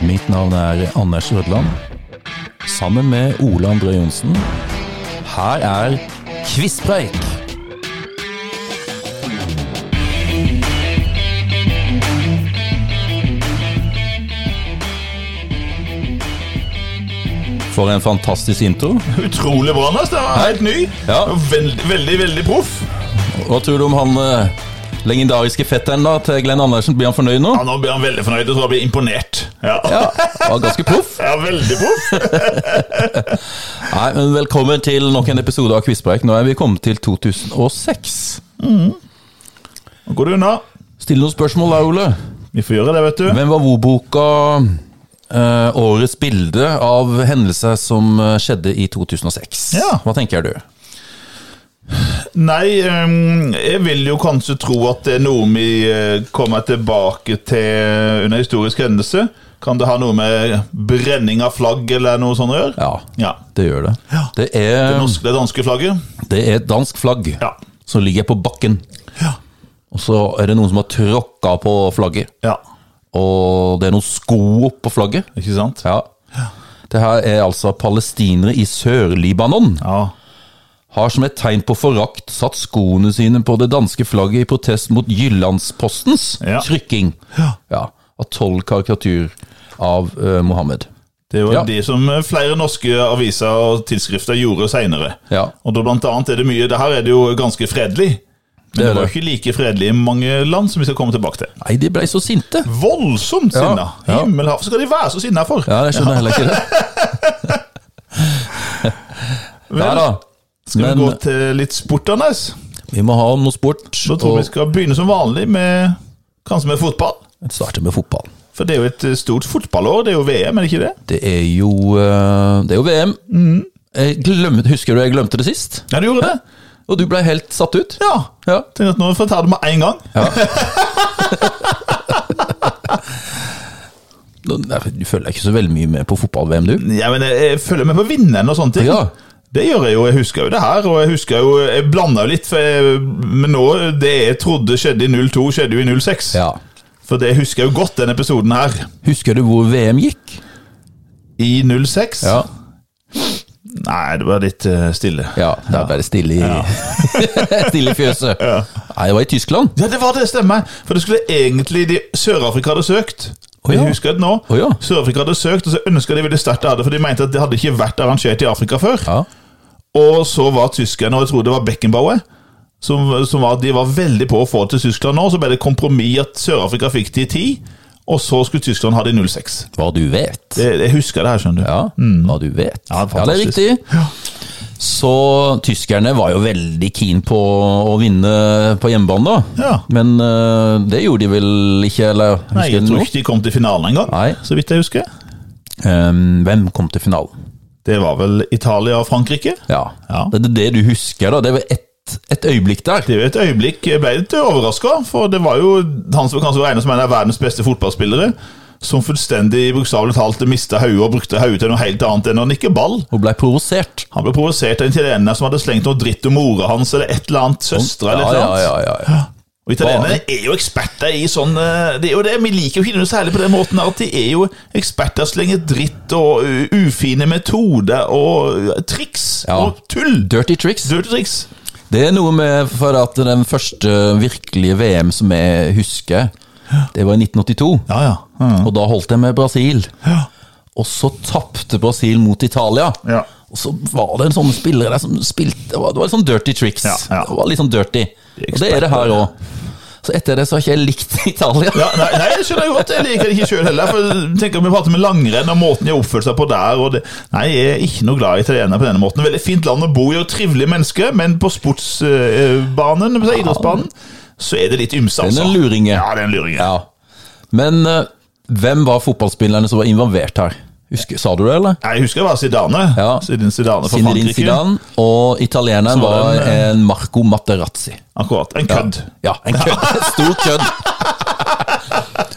Mitt navn er Anders Rødland. Sammen med Ole André Johnsen. Her er Kvisspreik! For en fantastisk intro. Utrolig bra, Anders. Det var helt ny. Ja. Og Veldig, veldig veldig proff. Hva tror du om han eh, legendariske fetteren da til Glenn Andersen? Blir han fornøyd nå? Ja, nå blir han veldig fornøyd. Jeg tror han blir imponert. Ja, ja. Ja, var ganske proff. veldig proff. Nei, men Velkommen til nok en episode av Quizpreik. Nå er vi kommet til 2006. Nå går du unna. Still noen spørsmål da, Ole. Vi får gjøre det, vet du. Hvem var hvor-boka eh, årets bilde av hendelser som eh, skjedde i 2006? Ja. Hva tenker du? Nei, ehm, jeg vil jo kanskje tro at det er noe vi eh, kommer tilbake til under historisk hendelse. Kan det ha noe med brenning av flagg eller noe sånt å gjøre? Ja, Ja. det gjør det. Ja. Det, er, Norsk, det danske flagget? det er et dansk flagg Ja. som ligger på bakken. Ja. Og så er det noen som har tråkka på flagget. ja. Og det er noen sko oppå flagget. Ikke sant? Ja. Det her er altså palestinere i Sør-Libanon. Ja. har som et tegn på forakt satt skoene sine på det danske flagget i protest mot Jyllandspostens Ja. trykking Ja. av tolv karikatur av eh, Mohammed. Det var Ja. det som eh, flere norske aviser og tidsskrifter gjorde seinere. Ja. Og da blant annet er det mye Det her er det jo ganske fredelig. Men Det det, er var det. jo ikke like fredelig i mange land som vi skal komme tilbake til. Nei, de ble så sinte! Voldsomt Ja, sinna! ja. Himmelhav, skal de være så sinna for? Ja, jeg skjønner heller ikke det. Nei da. skal men- vi gå til litt sport, Anders? Vi må ha noe sport, Da tror og vi skal begynne som vanlig med kanskje med fotball. starte med fotball. For det er jo et eh, stort fotballår. Det er jo VM, er det ikke det? Det er jo, eh, det er jo VM. Mhm. Jeg glemte, husker du jeg glemte det sist? Ja, du gjorde det? Og du ble helt satt ut? Ja. Ja. Tenkte at nå får jeg ta det med en gang. Nå- nei, Du følger ikke så veldig mye med på fotball-VM, du? Ja, men jeg, jeg følger med på vinneren og sånne ting. Ja. Det gjør jeg jo. Jeg husker jo det her, og jeg husker jo Jeg blanda jo litt, for jeg, men nå Det jeg trodde skjedde i 02, skjedde jo i 06. ja. For det husker jeg jo godt, denne episoden her. Husker du hvor VM gikk? I 06 Nei, det var litt eh, stille. Ja, det er bare stille i, stille i fjøset. Nei, det var i Tyskland. Ja, det var det, stemmer. For det skulle egentlig de Sør-Afrika hadde søkt. Å ja. Jeg husker det nå. Å ja. Sør-Afrika hadde søkt, og så ønska de veldig sterkt det hadde, for de mente at det hadde ikke vært arrangert i Afrika før. Ja. Og så var tyskerne, og jeg tror det var Beckenbauer, som, som var, de var veldig på å få det til Tyskland nå. Så ble det kompromiss at Sør-Afrika fikk det i 10, og så skulle Tyskland ha det i 06. Hva du vet. Det, jeg husker det her, skjønner du. Ja, hva du vet. Mm. Ja, fantastisk. det er riktig. Så tyskerne var jo veldig keen på å vinne på hjemmebane, da. Ja. Men eh, det gjorde de vel ikke, eller husker Nei, jeg du tror noe? ikke de kom til finalen engang, Nei. så vidt jeg husker. Ehm, hvem kom til finalen? Det var vel Italia og Frankrike. Ja. Ja. Det er det du husker, da. Det var ett et øyeblikk der. Det er jo et øyeblikk Jeg ble litt overraska, for det var jo han som kanskje var regnet som en av verdens beste fotballspillere, som fullstendig bokstavelig talt mista hodet og brukte hodet til noe helt annet enn å nikke ball. Og blei provosert. Han ble provosert av en italiener som hadde slengt noe dritt om mora hans eller et eller annet. søstre eller Ja, et eller ja, annet. ja, ja, ja. Og italienere er jo eksperter i sånn eh, det er jo det, Vi liker jo ikke noe særlig på den måten at de er jo eksperter så lenge dritt og uh, ufine metoder og uh, triks Ja. og tull. Dirty tricks. Dirty triks. Det er noe med for at den første virkelige VM som jeg husker, det var i 1982. Ja, ja. Og da holdt jeg med Brasil. Ja. Og så tapte Brasil mot Italia. Ja. Og så var det en sånn spiller der som spilte Det var, det var litt sånn dirty tricks. Ja, ja. Det var litt sånn dirty. er Og det er det her òg. Så etter det så har ikke jeg likt Italia. Ja, nei, nei, det skjønner jeg godt. Jeg liker det ikke sjøl heller. For tenk om vi prater med langrenn og måten de oppførte seg på der. Og det, nei, jeg er ikke noe glad i italienere på denne måten. Veldig fint land å bo i og trivelige mennesker, men på eh, sportsbanen, på idrettsbanen, så er det litt ymse, Det er altså. en luringe. Ja, det er en luring. Ja. Men eh, hvem var fotballspillerne som var involvert her? Husker, sa du det, eller? Nei, Jeg husker det var Zidane. Ja. Zidane Zidane fra Zinedine Frankrike. Zidane, og italieneren Så var var det en, en Marco Materazzi. Akkurat. En kødd. Ja, en kødd. Stor kødd.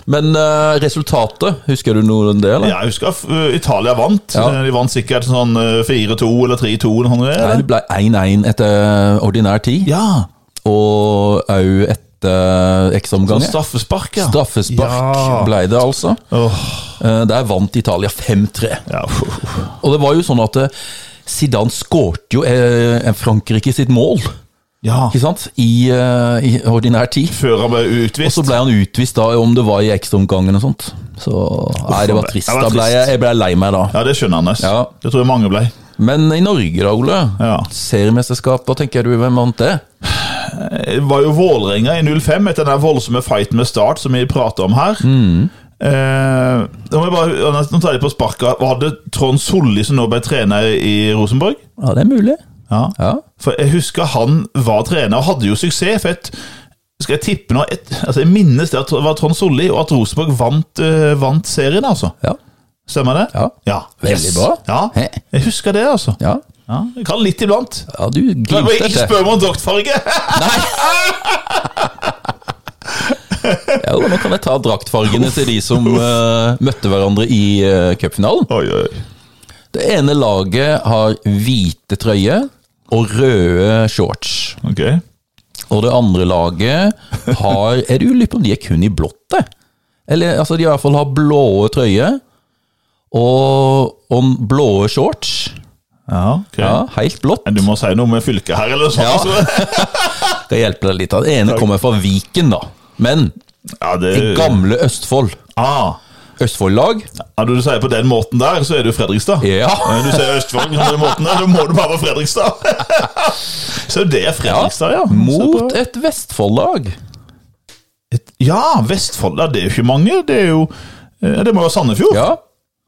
Men eh, resultatet, husker du noe om det, Ja. eller? jeg husker uh, Italia vant. Ja. De vant sikkert sånn uh, 4-2 eller 3-2 eller noe sånt. Nei, eller? det ble 1-1 etter ordinær tid, Ja. og òg et siste X-omgang. Og straffespark, ja. Straffespark Ja. ble det, altså. Åh, Eh, Der vant Italia 5-3. ja. Og det var jo sånn at eh, Zidane skårte jo eh, Frankrike sitt mål, ja. ikke sant? I, eh, i ordinær tid. Før han ble Og utvist. så ble han utvist, da, om det var i ekstraomgangen og sånt. Så nei, det var det trist. var Da ble trist. jeg, jeg ble lei meg da. Ja, det skjønner Anders. Ja. Det tror jeg mange ble. Men i Norge, da, Ole. Ja. Seriemesterskap, hva tenker du? Hvem vant det? Det Eh, var jo Vålerenga i 05 etter den voldsomme fighten med Start som vi prater om her. Mm. Eh, nå, må jeg bare, nå tar jeg det på sparket. Var det Trond Solli som nå ble trener i Rosenborg? Ja, det er mulig. Ja. Ja. For jeg husker han var trener og hadde jo suksess. for et skal jeg tippe nå, et, altså jeg minnes det at det var Trond Solli, og at Rosenborg vant, eh, vant serien, altså. ja. Stemmer det? Ja. Veldig bra. Ja, He. jeg husker det, altså. Ja. Ja, jeg kan litt iblant. ja, du Jeg må glimter ikke til. spørre meg om draktfarge! Nei! Ja, jo, nå kan jeg ta draktfargene til de som eh, møtte hverandre i uh, cupfinalen. Oi, oi. Det ene laget har hvite trøye og røde shorts. Ok. Og det andre laget har Er du lurer på om de er kun i blått, det? Eller altså, de i hvert fall har blåe trøye og, og blåe shorts. Ja, ok. Ja, helt blått. Men Du må si noe med fylket her, eller sånn. Ja. altså. Det hjelper deg litt. da. Det ene kommer fra Viken, da. Men Ja, det, det gamle Østfold. ah. Østfold-lag. Øh. ja, Når du sier på den måten der, så er du Fredrikstad. Ja. Men Når du sier Østfold på den måten der, så må du bare være Fredrikstad. så det er Fredrikstad, ja. Mot et Vestfold-lag. Ja, Vestfold. Ja, det er jo ikke mange. Det er jo eh, Det må være Sandefjord. Ja.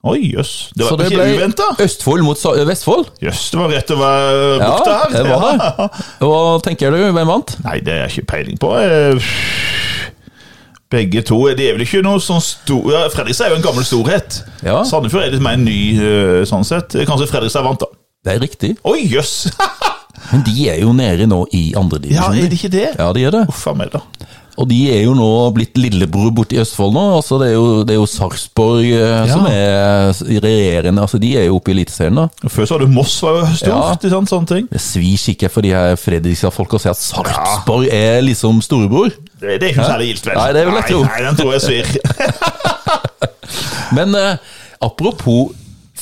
Oi, jøss. Det var ikke uventa. Østfold mot Sa- Vestfold. Jøss, det var rett over Ja, borte her. det var det. Ja. Hva tenker du? Hvem vant? Nei, det har jeg ikke peiling på. Eh, Begge to De er vel ikke noe sånn stor ja, Fredrikstad er jo en gammel storhet. Ja. Sandefjord er litt mer ny, eh, sånn sett. Kanskje Fredrikstad vant, da. Det er riktig. Oi, jøss! Men de er jo nede nå i Ja, andredivisjon. er det ikke det? Ja, de er det. Uff a meg, da. Og de er jo nå blitt lillebror borte i Østfold nå. Altså, det er jo, det er jo Sarpsborg eh, som er s- regjerende. Altså, de er jo oppe i Eliteserien, da. Før så var det Moss var jo Ja. stort. ikke sant, sånne ting Det svir ikke for de her Fredrikstad-folka å si at Sarpsborg er liksom storebror. Det, det er ikke noe særlig gildt, vel? Nei, det vil jeg nei, tro. Nei, den tror jeg svir. Men eh, apropos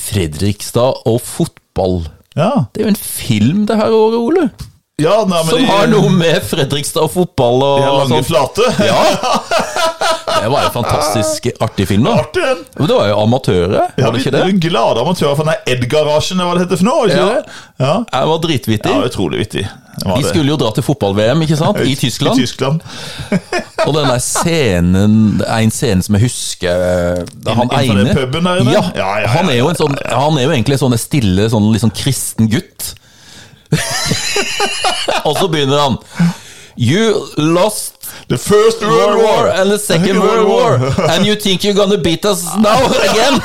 Fredrikstad og fotball. Ja, Det er jo en film det her året, Ole. ja nei, men Som de- har noe med Fredrikstad og fotball de har og lange sånt. flate. Ja. Det var en fantastisk artig film, da. Artig, den. Men Det var jo amatører, Ja, var det vi ikke det? er jo glade amatører for den Ed-garasjen, hva det heter for noe? ikke Ja. det? Ja. Jeg var dritvittig. ja, utrolig vittig. Det var De det. skulle jo dra til fotball-VM ikke sant? i Tyskland. I Tyskland. Og den der scenen det er En scene som jeg husker eh, da han Innenfor den ene puben der inne? ja, Ja, ja, ja, Han er jo en sånn Han er jo egentlig en sånn stille, sånn litt sånn kristen gutt. og så begynner han You lost The First World War and the Second World War, and you think you're gonna beat us now again?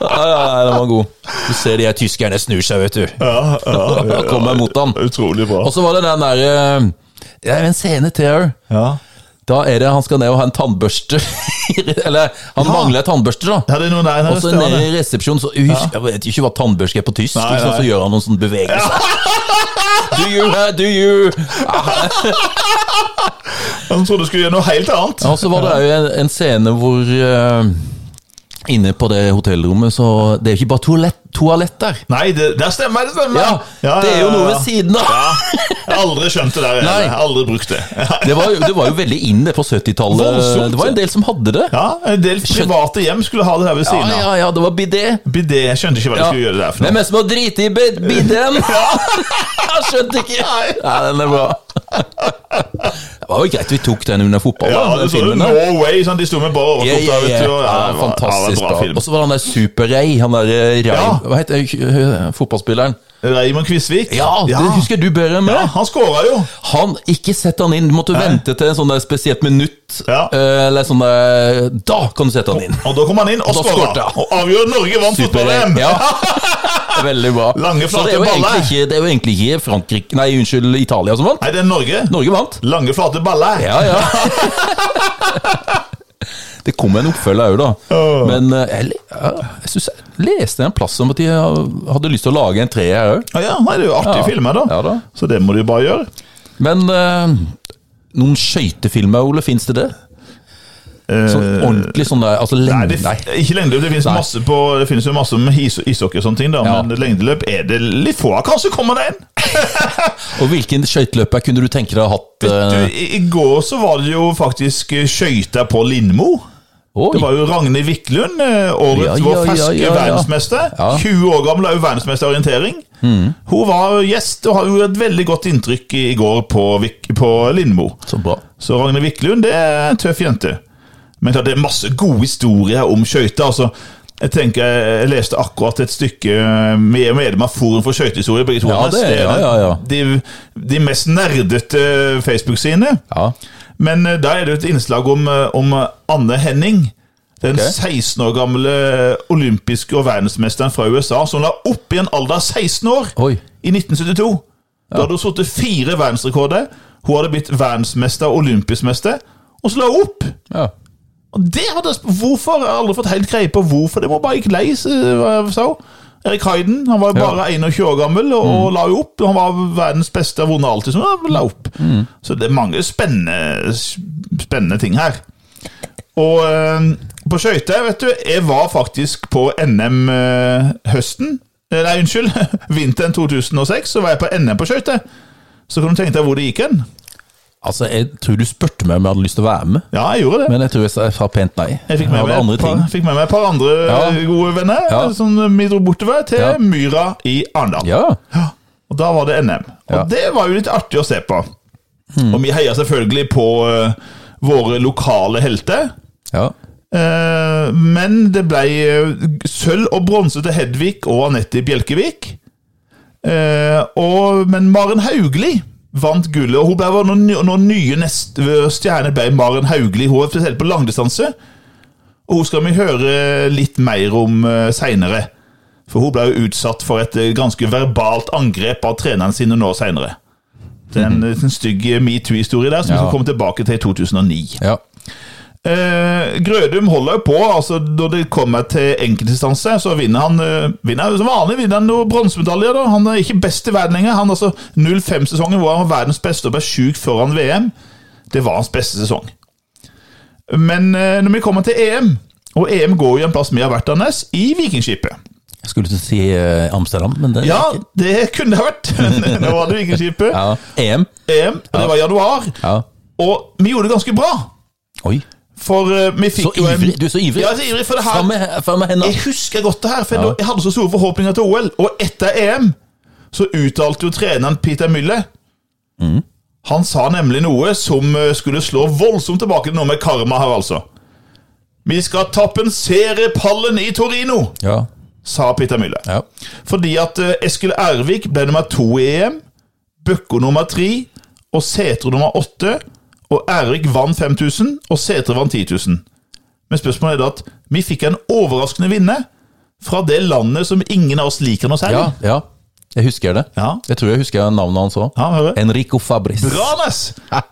Ja, ja, ja, den var god. Du ser de her tyskerne snur seg, vet du. Ja, ja, Da kommer jeg mot han. Utrolig bra. Og så var det den der eh, Det er en scene til her. Ja. Da er det han skal ned og ha en tannbørste. Eller han mangler tannbørste, da. Ja, det er noe der, Og så nede i resepsjonen, så Jeg vet jo ikke hva tannbørste er på tysk, Nei, liksom, nei. så gjør han noen sånne bevegelser. Do you, uh, do you Han trodde du skulle gjøre noe helt annet. Og så var det jo en, en scene hvor eh, Inne på det hotellrommet, så Det er jo ikke bare toalett, toalett der. Nei, det, der stemmer det! stemmer Ja, Ja, det er jo ja, noe ja. ved siden av! Ja, jeg har aldri skjønt det der. Nei. Jeg har aldri brukt det. Det var, jo- det var jo veldig inn det på 70-tallet. Voldsomt. Det var en del som hadde det. Ja, En del private hjem skulle ha det her ved Ja, siden av. ja, ja, det var bidé. Bidé, jeg skjønte ikke hva de skulle gjøre der for Hvem noe. er det som har driti i bed- bideen? Jeg skjønte ikke. Nei, den er bra. Det var jo greit vi tok den under fotballen. Ja, den det så du filmen der. Norway, sånn, de sto med bare Ja, overkropp ja, der, vet ja. du. og- Ja, det var- fantastisk ja, det bra. var en bra. Og så var han der Super-Ray, han der eh, Ray Ja. Hva heter eh, fotballspilleren? film. Raymond Kvisvik. Ja, det husker du bedre enn Ja, meg. han skåra jo. Han, ikke sett han inn. Du måtte vente til en sånn der spesielt minutt. Ja. eh, Eller sånn der Da kan du sette han inn. Og da kom han inn og Da skårte skåra. han. Og avgjør Norge vant fotball-VM! Ja. Veldig bra. Lange, Så det er, flate jo baller. egentlig ikke, det er jo egentlig ikke Frankrike Nei, unnskyld, Italia som vant. Nei, det er Norge. Norge vant. Lange, flate baller. Ja, ja. Det kom en oppfølger òg, da. Åh. Men eh, jeg, le- ja, jeg, synes jeg leste en plass om at de hadde lyst til å lage en treer òg. Ja, ja, nei, det er jo artige Ja. filmer, da. Ja da. Så det må du jo bare gjøre. Men eh, noen skøytefilmer, Ole? Fins det det? Sånn ordentlig sånn der Altså Eh, Nei, lenge det, Nei. ikke lengdeløp. Det finnes, Nei. masse på, det finnes jo masse med is, ishockey og sånne ting, da, Ja. men lengdeløp er det litt få av. Kanskje kommer det en! Og hvilken skøyteløper kunne du tenke deg å ha hatt? Du, eh, i, I går så var det jo faktisk eh, skøyter på Lindmo. Oi, Det var jo Ragnhild Wiklund, eh, Ja, årets ja, vår ja, ferske ja, ja. verdensmester. Ja. Mm. 20 år gammel er jo verdensmester i orientering. Hun var gjest og har jo et veldig godt inntrykk i i går på, Vik- på Lindmo. så bra. Så Ragnhild Wiklund, det er en tøff jente. Men klart, det er masse gode historier om skøyter. Altså, jeg tenker, jeg leste akkurat et stykke eh, Vi er medlem av Forum for skøytehistorie, begge to. Ja, Anders. det er- ja, er ja, ja. De, de mest nerdete eh, Facebook-sidene. Ja. Men eh, der er det jo et innslag om, eh, om Anne Henning. Den Ok. 16 år gamle olympiske og verdensmesteren fra USA som la opp i en alder av 16 år Oi. i 1972. Da hadde hun satt fire verdensrekorder. Hun hadde blitt verdensmester og olympisk mester, og så la hun opp! Ja. Og det hadde jeg sp- Hvorfor? Jeg har aldri fått helt greie på hvorfor. Det var bare ikke lei, s- hva jeg sa hun. Erik Hayden han var jo bare 21 år gammel og, og la jo opp. Han var verdens beste og vunnet alt. Liksom, og la opp. Så det er mange spennende, spennende ting her. Og eh, på skøyter, vet du Jeg var faktisk på NM eh, høsten Eh, Nei, unnskyld. Vinteren 2006 så var jeg på NM på skøyter. Så kan du tenke deg hvor det gikk hen. Altså, jeg tror du spurte meg om jeg hadde lyst til å være med, Ja, jeg gjorde det. men jeg tror jeg sa- jeg sa pent nei. Jeg fikk med, hadde meg andre et par, ting. fikk med meg et par andre Ja. eh, gode venner Ja. som vi dro bortover til Ja. Myra i Arendal. Ja. Og da var det NM. Og Ja. Mm. det var jo litt artig å se på. Og vi heier selvfølgelig på eh, våre lokale helter. ja. Eh, men det ble eh, sølv og bronse til Hedvig og Anette Bjelkevik. Eh, og, men Maren Haugli vant gullet, og hun ble vår nå- nå nye nest, eh, stjerne ble Maren Haugli. Hun er spesielt på langdistanse, og hun skal vi høre litt mer om uh, seinere. For hun ble jo utsatt for et eh, ganske verbalt angrep av treneren sine nå eh, seinere. Det er en, en stygg metoo-historie der som vi Ja. skal komme tilbake til i 2009. ja. Eh, Grødum holder jo på. altså Da det kommer til enkeltdistanse, så vinner han eh, vinner, som vanlig vinner han noen bronsemedaljer. da. Han er ikke best i verden lenger. Han altså 05-sesongen hvor han var verdens beste og ble sjuk foran VM, det var hans beste sesong. Men eh, når vi kommer til EM, og EM går jo en plass vi har vært, Anders, i Vikingskipet. Jeg skulle til å si eh, Amsterdam, men det Ja, det kunne det ha vært. Nå var det Vikingskipet. ja. EM. EM, og det var i januar. Ja. Og vi gjorde det ganske bra. Oi. For eh, vi Så fikk jo en ivrig. Du er så ivrig. Ja, jeg er så ivrig, for det her Fram med, fram med hendene. Jeg husker godt det her, for jeg- Ja. jeg hadde så store forhåpninger til OL. Og etter EM så uttalte jo treneren Peter Müller Han sa nemlig noe som eh, skulle slå voldsomt tilbake til noe med karma her, altså. Vi skal tapensere pallen i Torino, Ja. sa Peter Müller. ja. Fordi at eh, Eskil Ervik ble nummer to i EM, Bøkko nummer tre og Sætre nummer åtte. Og Ervik vant 5000, og Sætre vant 10 000. Men spørsmålet er da at vi fikk en overraskende vinner fra det landet som ingen av oss liker noe særlig. Ja, ja. Jeg husker det. Ja. Jeg tror jeg husker navnet hans òg. Ja, hører du? Enrico Fabris. Bra, Nes!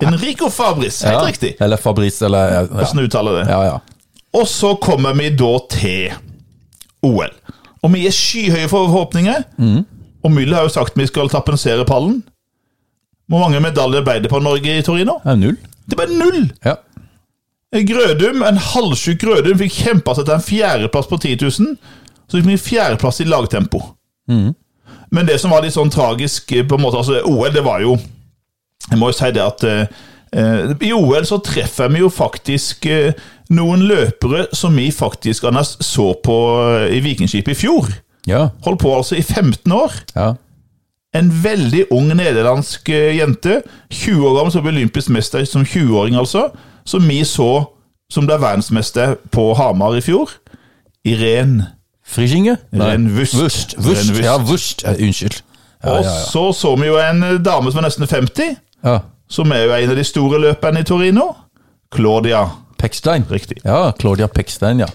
Enrico Fabris, helt Ja. riktig. Eller Fabris, eller ja. Hvordan uttaler det? ja, ja. Og så kommer vi da til OL. Og vi er skyhøye for forhåpninger. Og Müller har jo sagt vi skal tapensere pallen. Hvor mange medaljer ble det på Norge i Torino? Ja, Null. Det ble null! Ja. Grødum, en halvsjuk Grødum, fikk kjempa seg til en fjerdeplass på 10 000. Så fikk vi fjerdeplass i lagtempo. Men det som var litt sånn tragisk eh, på en måte, altså OL, det var jo Jeg må jo si det at eh, eh, i OL så treffer vi jo faktisk eh, noen løpere som vi faktisk Anders, så på eh, i Vikingskipet i fjor. Ja. Holdt på altså i 15 år. ja. En veldig ung nederlandsk eh, jente, 20 år gammel, som ble olympisk mester som 20-åring, altså, som vi så som ble verdensmester på Hamar i fjor. Irén. Frischinge? Nei. Ren Wust. Wust. Ren Wust. Wust. Ja, Wust. Eh, Unnskyld. Ja, Og ja, ja. så så vi jo en eh, dame som er nesten 50. ja. som er jo en av de store løperne i Torino. Claudia. Pekstein. Riktig. Ja, Claudia Pekstein, ja.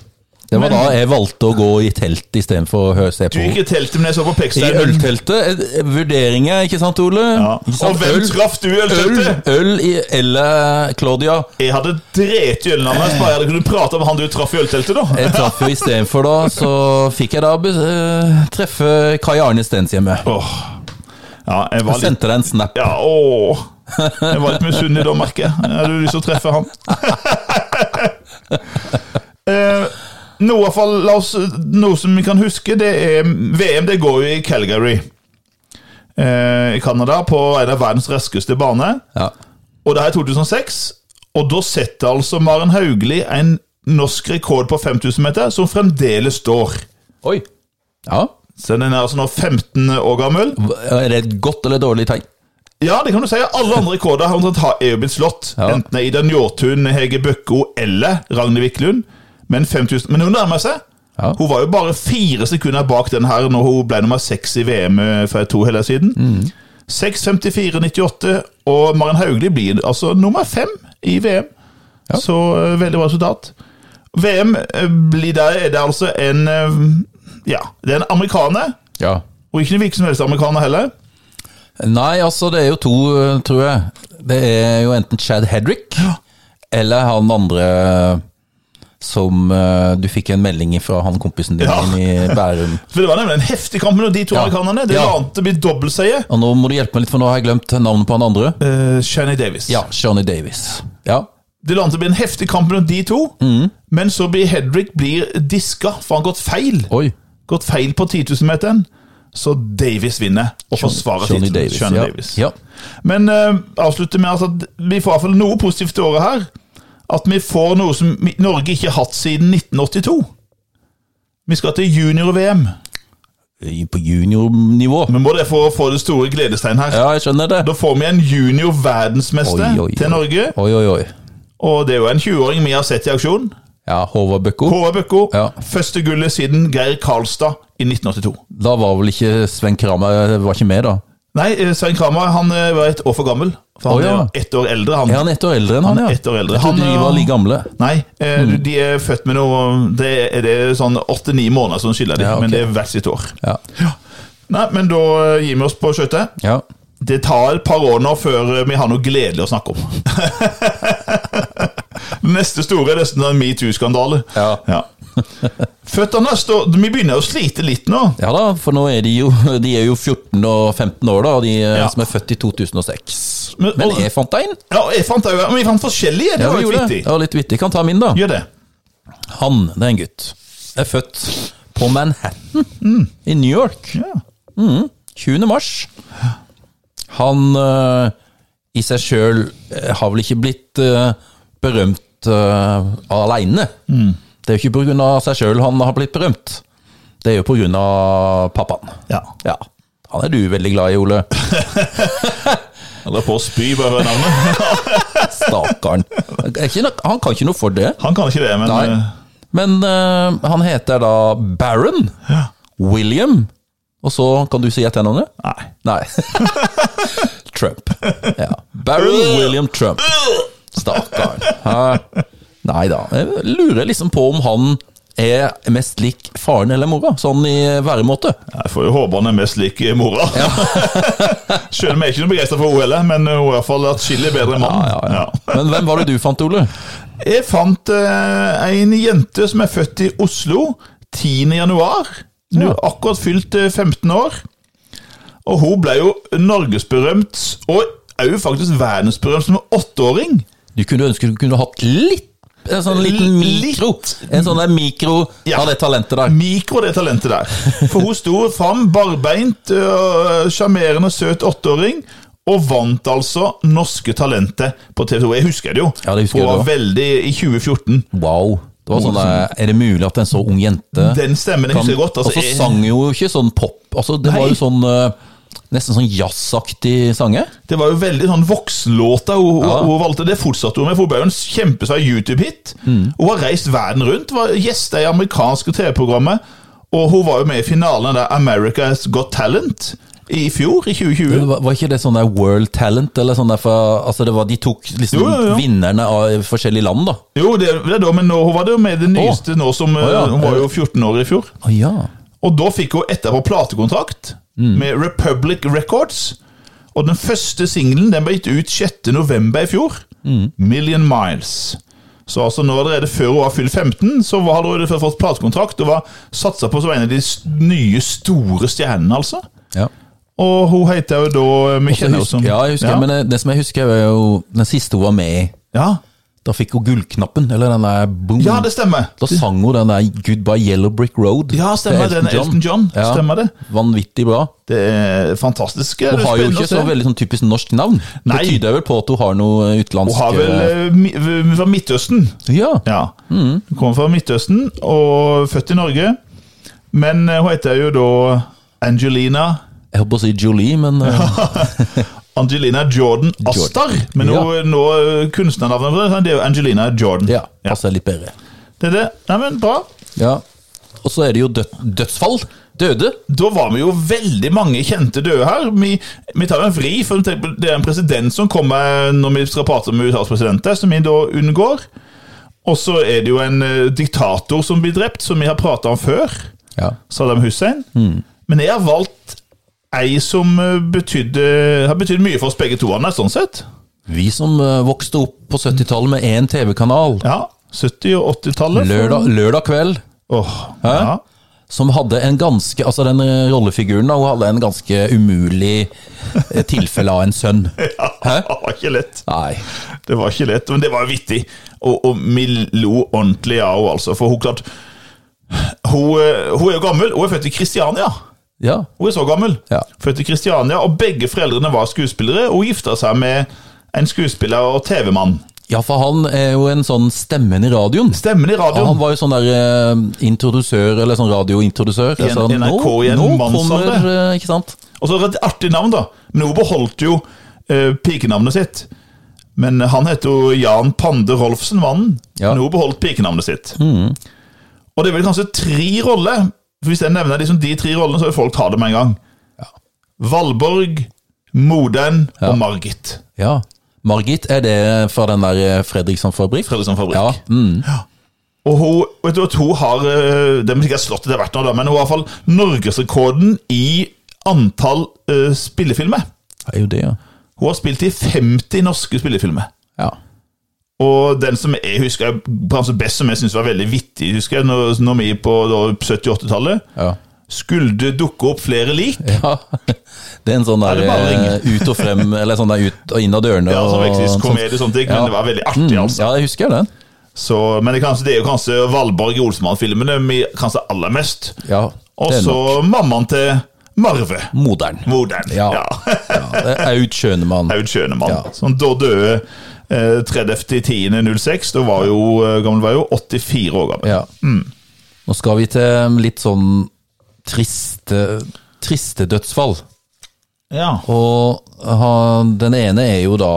Det var Men- da jeg valgte å gå i telt istedenfor å hø- se Du på gikk i teltet, men jeg så på I Pekstein. ølteltet. eh, Vurderinger, ikke sant, Ole? Ja. Ikke Og sant? hvem øl, traff du i øl, ølteltet? øl i, eller eh, Claudia. Jeg hadde drept i ølen hans, bare jeg hadde kunnet prate om han du traff i ølteltet, da. Jeg traff jo istedenfor, da. Så fikk jeg da be- eh, treffe Kai Arne Stenshjemme. Åh. Ja, jeg Jeg var litt sendte deg en snap. Ja, åh. Jeg var litt misunnelig da, merker jeg. Jeg hadde lyst til å treffe han. eh, noe, i hvert fall, la oss, noe som vi kan huske, det er VM det går jo i Calgary eh, i Canada, på en av verdens raskeste bane. Ja. Og det her er 2006, og da setter altså Maren Haugli en norsk rekord på 5000 meter, som fremdeles står. Oi. Ja. Så den er altså nå 15 år gammel. Er det et godt eller dårlig tegn? Ja, det kan du si. Alle andre rekorder har omtrent ha- er jo blitt slått. Ja. Enten det er Ida Njåtun, Hege Bøkko eller Ragnhild Wiklund. Men, 5000, men hun nærmer seg. Ja. Hun var jo bare fire sekunder bak den her når hun ble nummer seks i VM for to helger siden. Mm. 6.54,98, og Maren Hauglie blir altså nummer fem i VM. Så eh, veldig bra resultat. VM eh, blir der, er det altså en eh, Ja, det er en amerikaner, Ja. og ikke en hvilken som helst amerikaner heller. Nei, altså det er jo to, eh, tror jeg. Det er jo enten Chad Hedrick eller han andre eh, som eh, du fikk en melding fra han kompisen din Ja. i Bærum. For Det var nemlig en heftig kamp mellom de to Ja. amerikanerne. Det Ja. var annet å bli dobbeltseier. Og nå må du hjelpe meg litt, for nå har jeg glemt navnet på han andre. Uh, Shanny Davis. Ja, Johnny Davis. Ja, Det landet blir en heftig kamp mellom de to, Mm. men så blir Hedrick blir diska, for han har gått feil. oi. Gått feil på 10 000-meteren. Så Davis vinner og forsvarer Johnny tittelen. Davis, Shanny ja. Davis. Ja. Men uh, avslutter med altså at vi får i hvert fall noe positivt i året her. At vi får noe som vi- Norge ikke har hatt siden 1982. Vi skal til junior-VM. I- På juniornivå. Vi må det for å få det store gledestein her. Ja, jeg skjønner det. Da får vi en junior-verdensmester Oi, oi, til oi. Norge. Oi, oi, oi. Og det er jo en 20-åring vi har sett i aksjon. Ja, Håvard Bøkko. Håvard Bøkko. Ja. Første gullet siden Geir Karlstad i 1982. Da var vel ikke Sven Kramer eh, var ikke med, da? Nei, eh, Svein Kramer han eh, var et år for gammel. For han Å, ja. er ett år eldre, han. Er han ett år eldre enn han, ja? ett år eldre. Jeg trodde Han, de ja. var like gamle. Nei, eh, Mm. de er født med noe Det er, det er sånn åtte-ni måneder som skiller dem, Ja, ok. men det er hvert sitt år. Ja. Nei, men da eh, gir vi oss på skøyter. ja. Det tar et par år nå før eh, vi har noe gledelig å snakke om. Den neste store er nesten en metoo-skandale. Ja. Føttene står Vi begynner å slite litt nå. Ja da, for nå er de jo, de er jo 14 og 15 år, da, de eh, Ja. som er født i 2006. Men- Men og- jeg fant deg inn. Ja, jeg fant det jo, men vi fant forskjellige. Det Ja, var vi jo gjorde det. vittig. Ja, litt vittig. Kan ta min, da. Gjør det. Han, det er en gutt. Er født på Manhattan i New York. Mm. Ja. 20. mars. Han eh, i seg sjøl har vel ikke blitt eh, berømt uh, aleine. Mm. Det er jo ikke pga. seg sjøl han har blitt berømt. Det er jo pga. pappaen. ja. Ja. Han er du veldig glad i, Ole. Eller på å spy, bare hør navnet. Stakkaren. Er ikke nok- Han kan ikke noe for det. Han kan ikke det, men Nei. eh, Men eh, han heter da Baron William. Og så kan du si et eller annet? Nei. Nei. Trump. Ja. Baron William Trump. Stakkaren. Hæ? Nei da. Jeg lurer liksom på om han er mest lik faren eller mora, sånn i væremåte. Jeg får jo håpe han er mest lik eh, mora. Selv om jeg er ikke noe begeistra for henne heller, men eh, hun er i hvert fall atskillig bedre enn mannen. Ja, ja. Men hvem var det du fant, Ole? Jeg fant eh, en jente som er født i Oslo 10. januar. Nå akkurat fylt eh, 15 år. Og hun ble jo norgesberømt, og òg faktisk verdensberømt som åtteåring. Du kunne ønske du kunne hatt litt en sånn liten Litt. mikro. En sånn der mikro Ja. av det talentet der. Mikro, det talentet der. For hun sto fram barbeint, øh, sjarmerende, søt åtteåring. Og vant altså Norske Talenter på TV2. Jeg husker det jo. Ja, det husker hun jeg var også. veldig i 2014. Wow. Det var sånn der, Er det mulig at en så ung jente Den stemmen jeg kan- husker jeg godt. Altså, Og så jeg- sang jo ikke sånn pop. Altså, det var Nei. jo sånn eh, Nesten sånn jazzaktig sanger. Det var jo veldig sånn voksenlåter hun, Ja. hun valgte. Det fortsatte hun med. for Hun ble jo en kjempesvær YouTube-hit. Mm. Hun har reist verden rundt, var gjester i amerikanske TV-programmer. Og hun var jo med i finalen der America's Got Talent i fjor, i 2020. Men Var var ikke det sånn der World Talent? Eller sånn der fra, altså det var, de tok liksom Jo, jo, jo. vinnerne av forskjellige land, da. Jo, det, det er da, men nå, hun var det jo med det nyeste nå som eh, ja. Hun var jo 14 år i fjor. Å ja. Og da fikk hun etterpå platekontrakt Mm. med Republic Records. Og den første singelen den ble gitt ut 6. november i fjor. Mm. Million Miles. Så altså nå allerede før hun var fylt 15, så var- hadde hun allerede fått platekontrakt og var satsa på som en av de s- nye store stjernene, altså. ja. Og hun heter jo da eh, Vi kjenner henne som ja, jeg husker, ja. men det, det som jeg husker, er jo den siste hun var med i. ja. Da fikk hun gullknappen, eller den der boom. ja, det stemmer. da sang hun den der Goodbye Yellow Brick Road. Ja, stemmer til det. Elton John. Stemmer det. Vanvittig bra. Det er fantastisk. Det Hun er har jo spennende ikke å se. så veldig sånn typisk norsk navn. Nei. Det tyder vel på at hun har noe Hun utenlandsk har vel eh, mi- v- fra Midtøsten. Ja. Ja. Hun kommer fra Midtøsten og født i Norge. Men eh, hun heter jo da Angelina Jeg holdt på å si Jolie, men eh, Angelina Jordan Astar. Men Ja. hun, nå eh, kunstnernavnet hennes, det er jo Angelina Jordan. ja, passer litt bedre. Det er det. Nei, men bra. Ja. Og så er det jo død, dødsfall. Døde. Da var vi jo veldig mange kjente døde her. Vi, vi tar en vri, for tenk på- det er en president som kommer når vi skal prate om USAs presidenter, som vi da unngår. Og så er det jo en eh, diktator som blir drept, som vi har prata om før. Ja. Saddam Hussein. Mm. Men jeg har valgt ei som eh, betydde, har betydd mye for oss begge to, Anna, sånn sett. Vi som eh, vokste opp på 70-tallet med én TV-kanal, Ja, 70- og 80-tallet. for- lørdag, lørdag kveld, Åh, Hæ? ja. som hadde en ganske Altså den eh, rollefiguren da, hun hadde en ganske umulig eh, tilfelle av en sønn. ja. Hæ? Det var ikke lett. Nei. Det var ikke lett, men det var vittig. Og, og vi lo ordentlig av henne, altså. For hun klart hun, eh, hun er jo gammel. Hun er født i Kristiania. Ja. Hun er så gammel. Ja. Født i Kristiania, og begge foreldrene var skuespillere. Og hun gifta seg med en skuespiller og TV-mann. ja, for han er jo en sånn stemmen i radioen. Stemmen i Ja, han radioen. var jo sånn der eh, introdusør, eller sånn radiointrodusør. I en- Altså, i NRK i en nå, nå mannsalder. kommer eh, Ikke sant? Og så et artig navn, da. Men hun beholdt jo eh, pikenavnet sitt. Men han heter jo Jan Pande Rolfsen, mannen. Ja. Mm. Men hun beholdt pikenavnet sitt. Og det er vel kanskje tre roller. For Hvis jeg nevner liksom de tre rollene, så vil folk ta det med en gang. Valborg, Modern og Margit. Ja. Margit, er det fra den der eh, Fredriksson-fabrikk? Fredriksson liksom Fabrikk. Ja. Mm. Og hun, vet du, at hun har eh, Det er sikkert slått etter hvert, nå, da, men hun har i hvert fall norgesrekorden i antall eh, spillefilmer. Det er jo det, ja. Hun har spilt i 50 norske spillefilmer. ja. Og den som jeg husker kanskje best, som jeg syns var veldig vittig, husker jeg, når, når vi på da 70-80-tallet Ja. skulle det dukke opp flere lik. ja. Det er en sånn der det bare eh, ut og frem, eller sånn der ut og inn av dørene. Ja, som og- faktisk sånn- komedie altså og sånne ting, Ja. Mm. men det var veldig artig, altså. Ja, jeg husker den. Så, men det, er kanskje, det er jo kanskje Valborg i Olsmann-filmene vi kanskje aller mest. Ja, Og det er så nok mammaen til Marve. modern. Modern. Ja. Ja, det er Aud Schønemann. Aud Schønemann. Ja. Som da døde eh, 30.10.06. Da var jo eh, gammel var jo 84 år gammel. Ja. Mm. Nå skal vi til litt sånn triste, triste dødsfall. Ja. Og han, den ene er jo da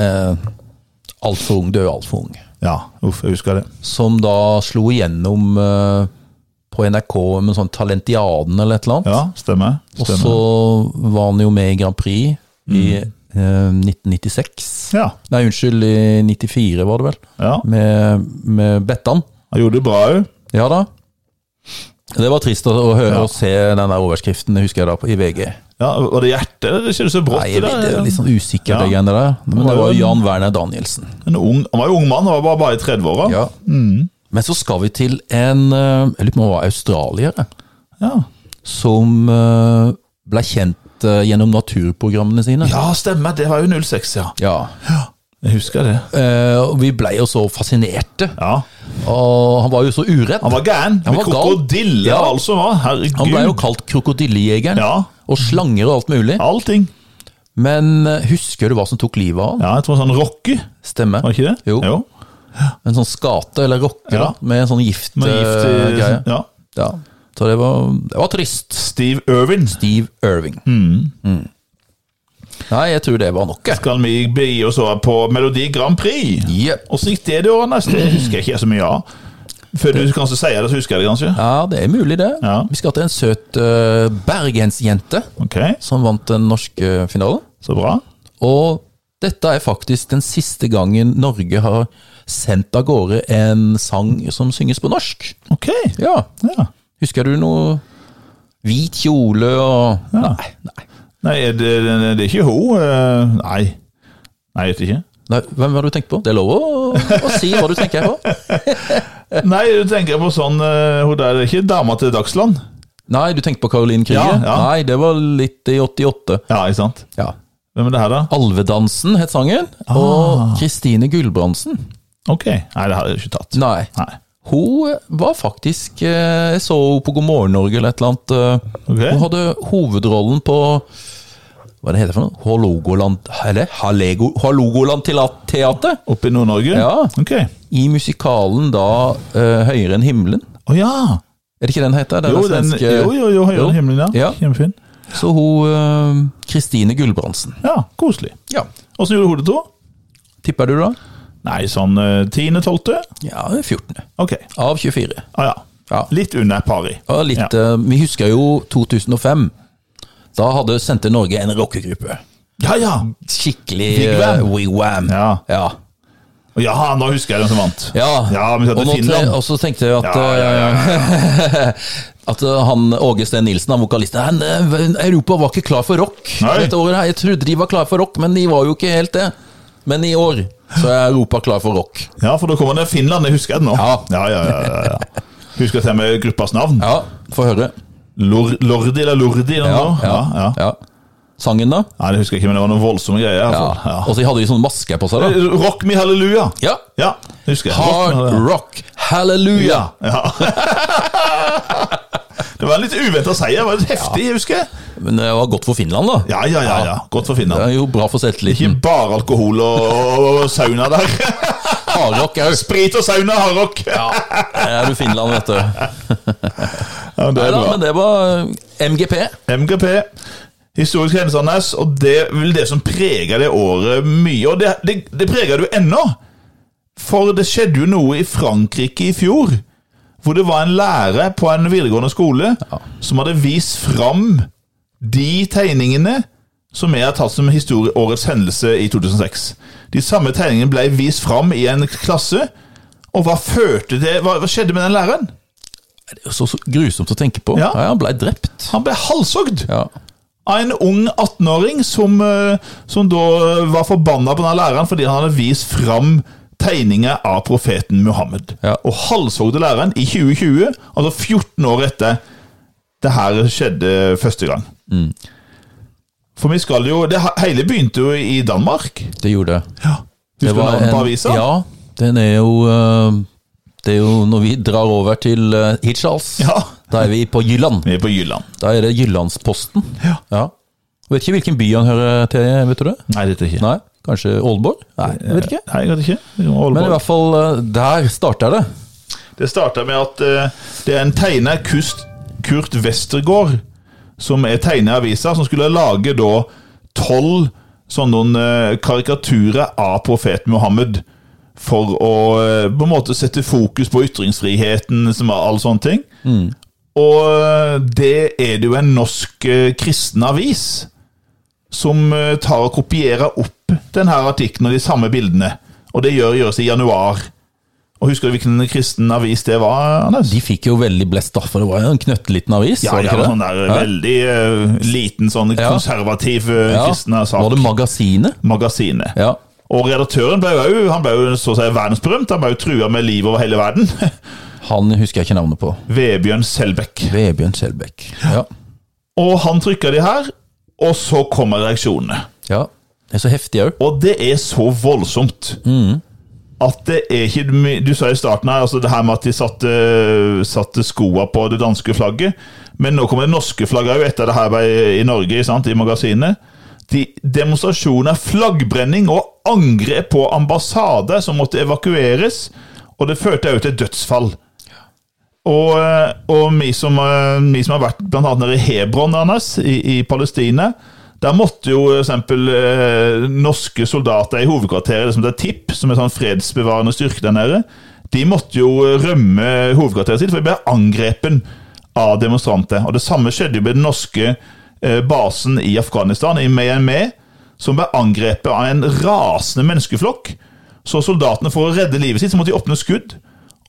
eh, altfor ung, død altfor ung. ja. Uff, jeg husker det. Som da slo igjennom eh, på NRK med sånn Talentiaden eller et eller annet. Ja, stemmer. Og stemmer. Mm. så var han jo med i Grand Prix i eh, 1996. Ja. Nei, unnskyld, i 94 var det vel. ja. Med, med Bettan. Han gjorde det bra òg. Ja da. Det var trist å, å høre og se den der overskriften, husker jeg da, på- i VG. Ja, var det hjertet? eller? Det skjedde så brått. Nei, jeg det vet, det der. er litt sånn usikker, Ja. det greiene der. Men det var var jo- jo Jan Werner Danielsen. En ung, han var jo ung mann, han var bare, bare i 30-åra. Ja. Mm. Men så skal vi til en eh, Jeg lurer på om han var australier, Ja. som eh, ble kjent eh, gjennom naturprogrammene sine. ja, stemmer. Det var jo 06, ja. Ja. Jeg husker det. Eh, og vi ble jo så fascinerte. Ja. Og han var jo så uredd. Han var gæren. Han Med var gal. krokodille Ja. og alt som var. Herregud. Han ble jo kalt krokodillejegeren. Ja, Og slanger og alt mulig. allting. Men eh, husker du hva som tok livet av han? Ja, jeg tror sånn Rocky, Stemmer. var ikke det? Jo. En sånn skate, eller rocker, da, Ja. med en sånn gift, Med gift eh, i- greie. ja. Ja. Så det var, det var trist. Steve Irwin. Steve Irving. Mm. Nei, jeg tror det var nok. jeg. Skal vi begi oss over på Melodi Grand Prix? Jepp. Åssen gikk det det året? Neste Det husker jeg ikke så mye av. Før du kanskje sier det, så husker jeg det kanskje. Ja, det er mulig, det. Ja. Vi skal til en søt eh, bergensjente Ok, som vant den norske eh, finalen. så bra. Og dette er faktisk den siste gangen Norge har sendt av gårde en sang som synges på norsk. Ok, Ja. ja. Husker du noe? Hvit kjole og Nei, nei. Nei, er det, det det er ikke hun. eh, Nei. Nei, jeg vet ikke. Nei, Hvem var det du tenkte på? Det er lov å, å si hva du tenker på. Nei, du tenker på sånn eh, Hun der, det er ikke dama til Dagsland? Nei, du tenkte på Caroline Krüger? Ja, ja. Nei, det var litt i 88. Ja, ikke sant? Ja. Ah. Hvem er det her, da? Alvedansen het sangen, og Kristine Gulbrandsen. Ok. Nei, det har jeg jo ikke tatt. Nei. Nei. Hun var faktisk eh, Jeg så henne på God morgen Norge eller et eller annet. eh, Ok. Hun hadde hovedrollen på Hva er det heter det for noe? Hålogoland Eller Hallego- Hålogoland-teater? Oppe i Nord-Norge? Ja. Ok. Å I musikalen da eh, Høyere enn himmelen. ja! Er det ikke den heter? Det er Jo, den den, svenske- jo, jo, jo, høyere enn himmelen, ja. Ja. Kjempefin. Så hun eh, Kristine Gulbrandsen. Ja, koselig. Ja. Åssen gjorde hodet to? Tipper du da? Nei, sånn tiende-tolvte? Ja, 14. Ok. Av 24. Ah, ja. Ja. Litt under pari. Og litt, eh, Vi husker jo 2005. Da hadde sendte Norge en rockegruppe. Ja, ja! Skikkelig Wigwam. eh, wigwam. Ja. ja. Ja, nå husker jeg den som vant. Ja. men vi og, satt nå i Finland. te- og så tenkte jeg at Ja, ja, ja, At eh, han Åge Steen Nilsen, han vokalisten han, eh, Europa var ikke klar for rock Nei. dette året. her Jeg trodde de var klar for rock, men de var jo ikke helt det. Men i år så er Europa klar for rock. Ja, for da kommer det Finland, jeg husker det nå. Ja. ja, ja, ja, ja, ja. Husker til og med gruppas navn. Ja, få høre. Lor Lordi eller Lordi? eller noe? ja, ja. ja. Sangen, da? Nei, det husker jeg ikke, men det var noen voldsomme greier. i hvert Ja. fall. Og så hadde de sånne masker på seg, da. Ja. Rock me hallelujah! Ja. Ja, husker jeg. Rock me Hard hallelujah. rock, halleluja! Ja. ja. det var en litt uventa seier. Det var litt heftig, jeg husker jeg. Men det var godt for Finland, da. Ja, ja, ja. ja. Godt for Det Finland. er jo bra for Ikke selvtilliten. bare alkohol og, og sauna der. Hardrock òg. Sprit og sauna, hardrock! Ja, Er du Finland, vet du. men det Nei er da, bra. men det var eh, MGP. MGP. Historisk Hennes, og det er vel det som preger det året mye. Og det, det, det preger det jo ennå! For det skjedde jo noe i Frankrike i fjor. Hvor det var en lærer på en videregående skole som hadde vist fram de tegningene som jeg har tatt som historie, årets hendelse i 2006. De samme tegningene ble vist fram i en klasse. Og hva førte det Hva, hva skjedde med den læreren? Det er jo så, så grusomt å tenke på. Ja. Ja. han ble drept. Han ble halshogd! Ja. av en ung 18-åring som, eh, som da eh, var forbanna på denne læreren fordi han hadde vist fram tegninger av profeten Muhammed. Ja. Og halshogde læreren i 2020, altså 14 år etter det her skjedde første gang. Mm. For vi skal jo det, Hele begynte jo i Danmark. Det gjorde det. Husker du navnet på en- avisa? Ja, den er jo eh, Det er jo når vi drar over til uh, Hirtshals. Ja. Da er vi på Jylland. Vi er på Jylland. Da er det Jyllandsposten. Ja. Vet ikke hvilken by han hører til, vet du det? Nei, dette er ikke Nei, Kanskje Aalborg? Nei, jeg vet ikke. Nei, jeg vet ikke. Vi må holde Men i på. hvert fall, eh, der starta det. Det starta med at eh, det er en tegner, Kust, Kurt Westergård, som er tegner i avisa, som skulle lage da tolv sånne noen, eh, karikaturer av profeten Muhammed. For å eh, på en måte sette fokus på ytringsfriheten som er all sånne ting. Og eh, det er det jo en norsk eh, kristen avis som eh, tar og kopierer opp denne artikkelen og de samme bildene. Og det gjør, gjøres i januar. Og Husker du hvilken kristen avis det var? Anders? De fikk jo veldig blest, da, for det var jo en knøtteliten avis. Ja, var det ja, ikke det? sånn der Ja. veldig eh, liten, sånn konservativ eh, Ja. kristen sak. Var det Magasinet? Magasinet. Ja. Og redaktøren ble jo, han ble jo så å si verdensberømt. Han ble jo trua med livet over hele verden. Han husker jeg ikke navnet på. Vebjørn Selbekk. Vebjørn Skjelbæk. Ja. Og han trykka de her, og så kommer reaksjonene. ja. Det er så heftig òg. Og det er så voldsomt at det er ikke my- Du sa i starten her altså det her med at de satte, satte skoa på det danske flagget. Men nå kommer det norske flagget òg, etter det her ble- i Norge, sant, i magasinet. De demonstrasjoner, flaggbrenning og angrep på ambassader som måtte evakueres. Og det førte òg til dødsfall. Og, eh, og vi, som, vi som har vært blant annet nede i Hebron Anders, i, i Palestina, der måtte jo for eksempel eh, norske soldater i hovedkvarteret, det som heter TIP, som er sånn fredsbevarende styrke der nede, de måtte jo eh, rømme hovedkvarteret sitt, for de ble angrepen av demonstranter. Og det samme skjedde jo med den norske eh, basen i Afghanistan, i Myanmar, som ble angrepet av en rasende menneskeflokk. Så soldatene, for å redde livet sitt, så måtte de åpne skudd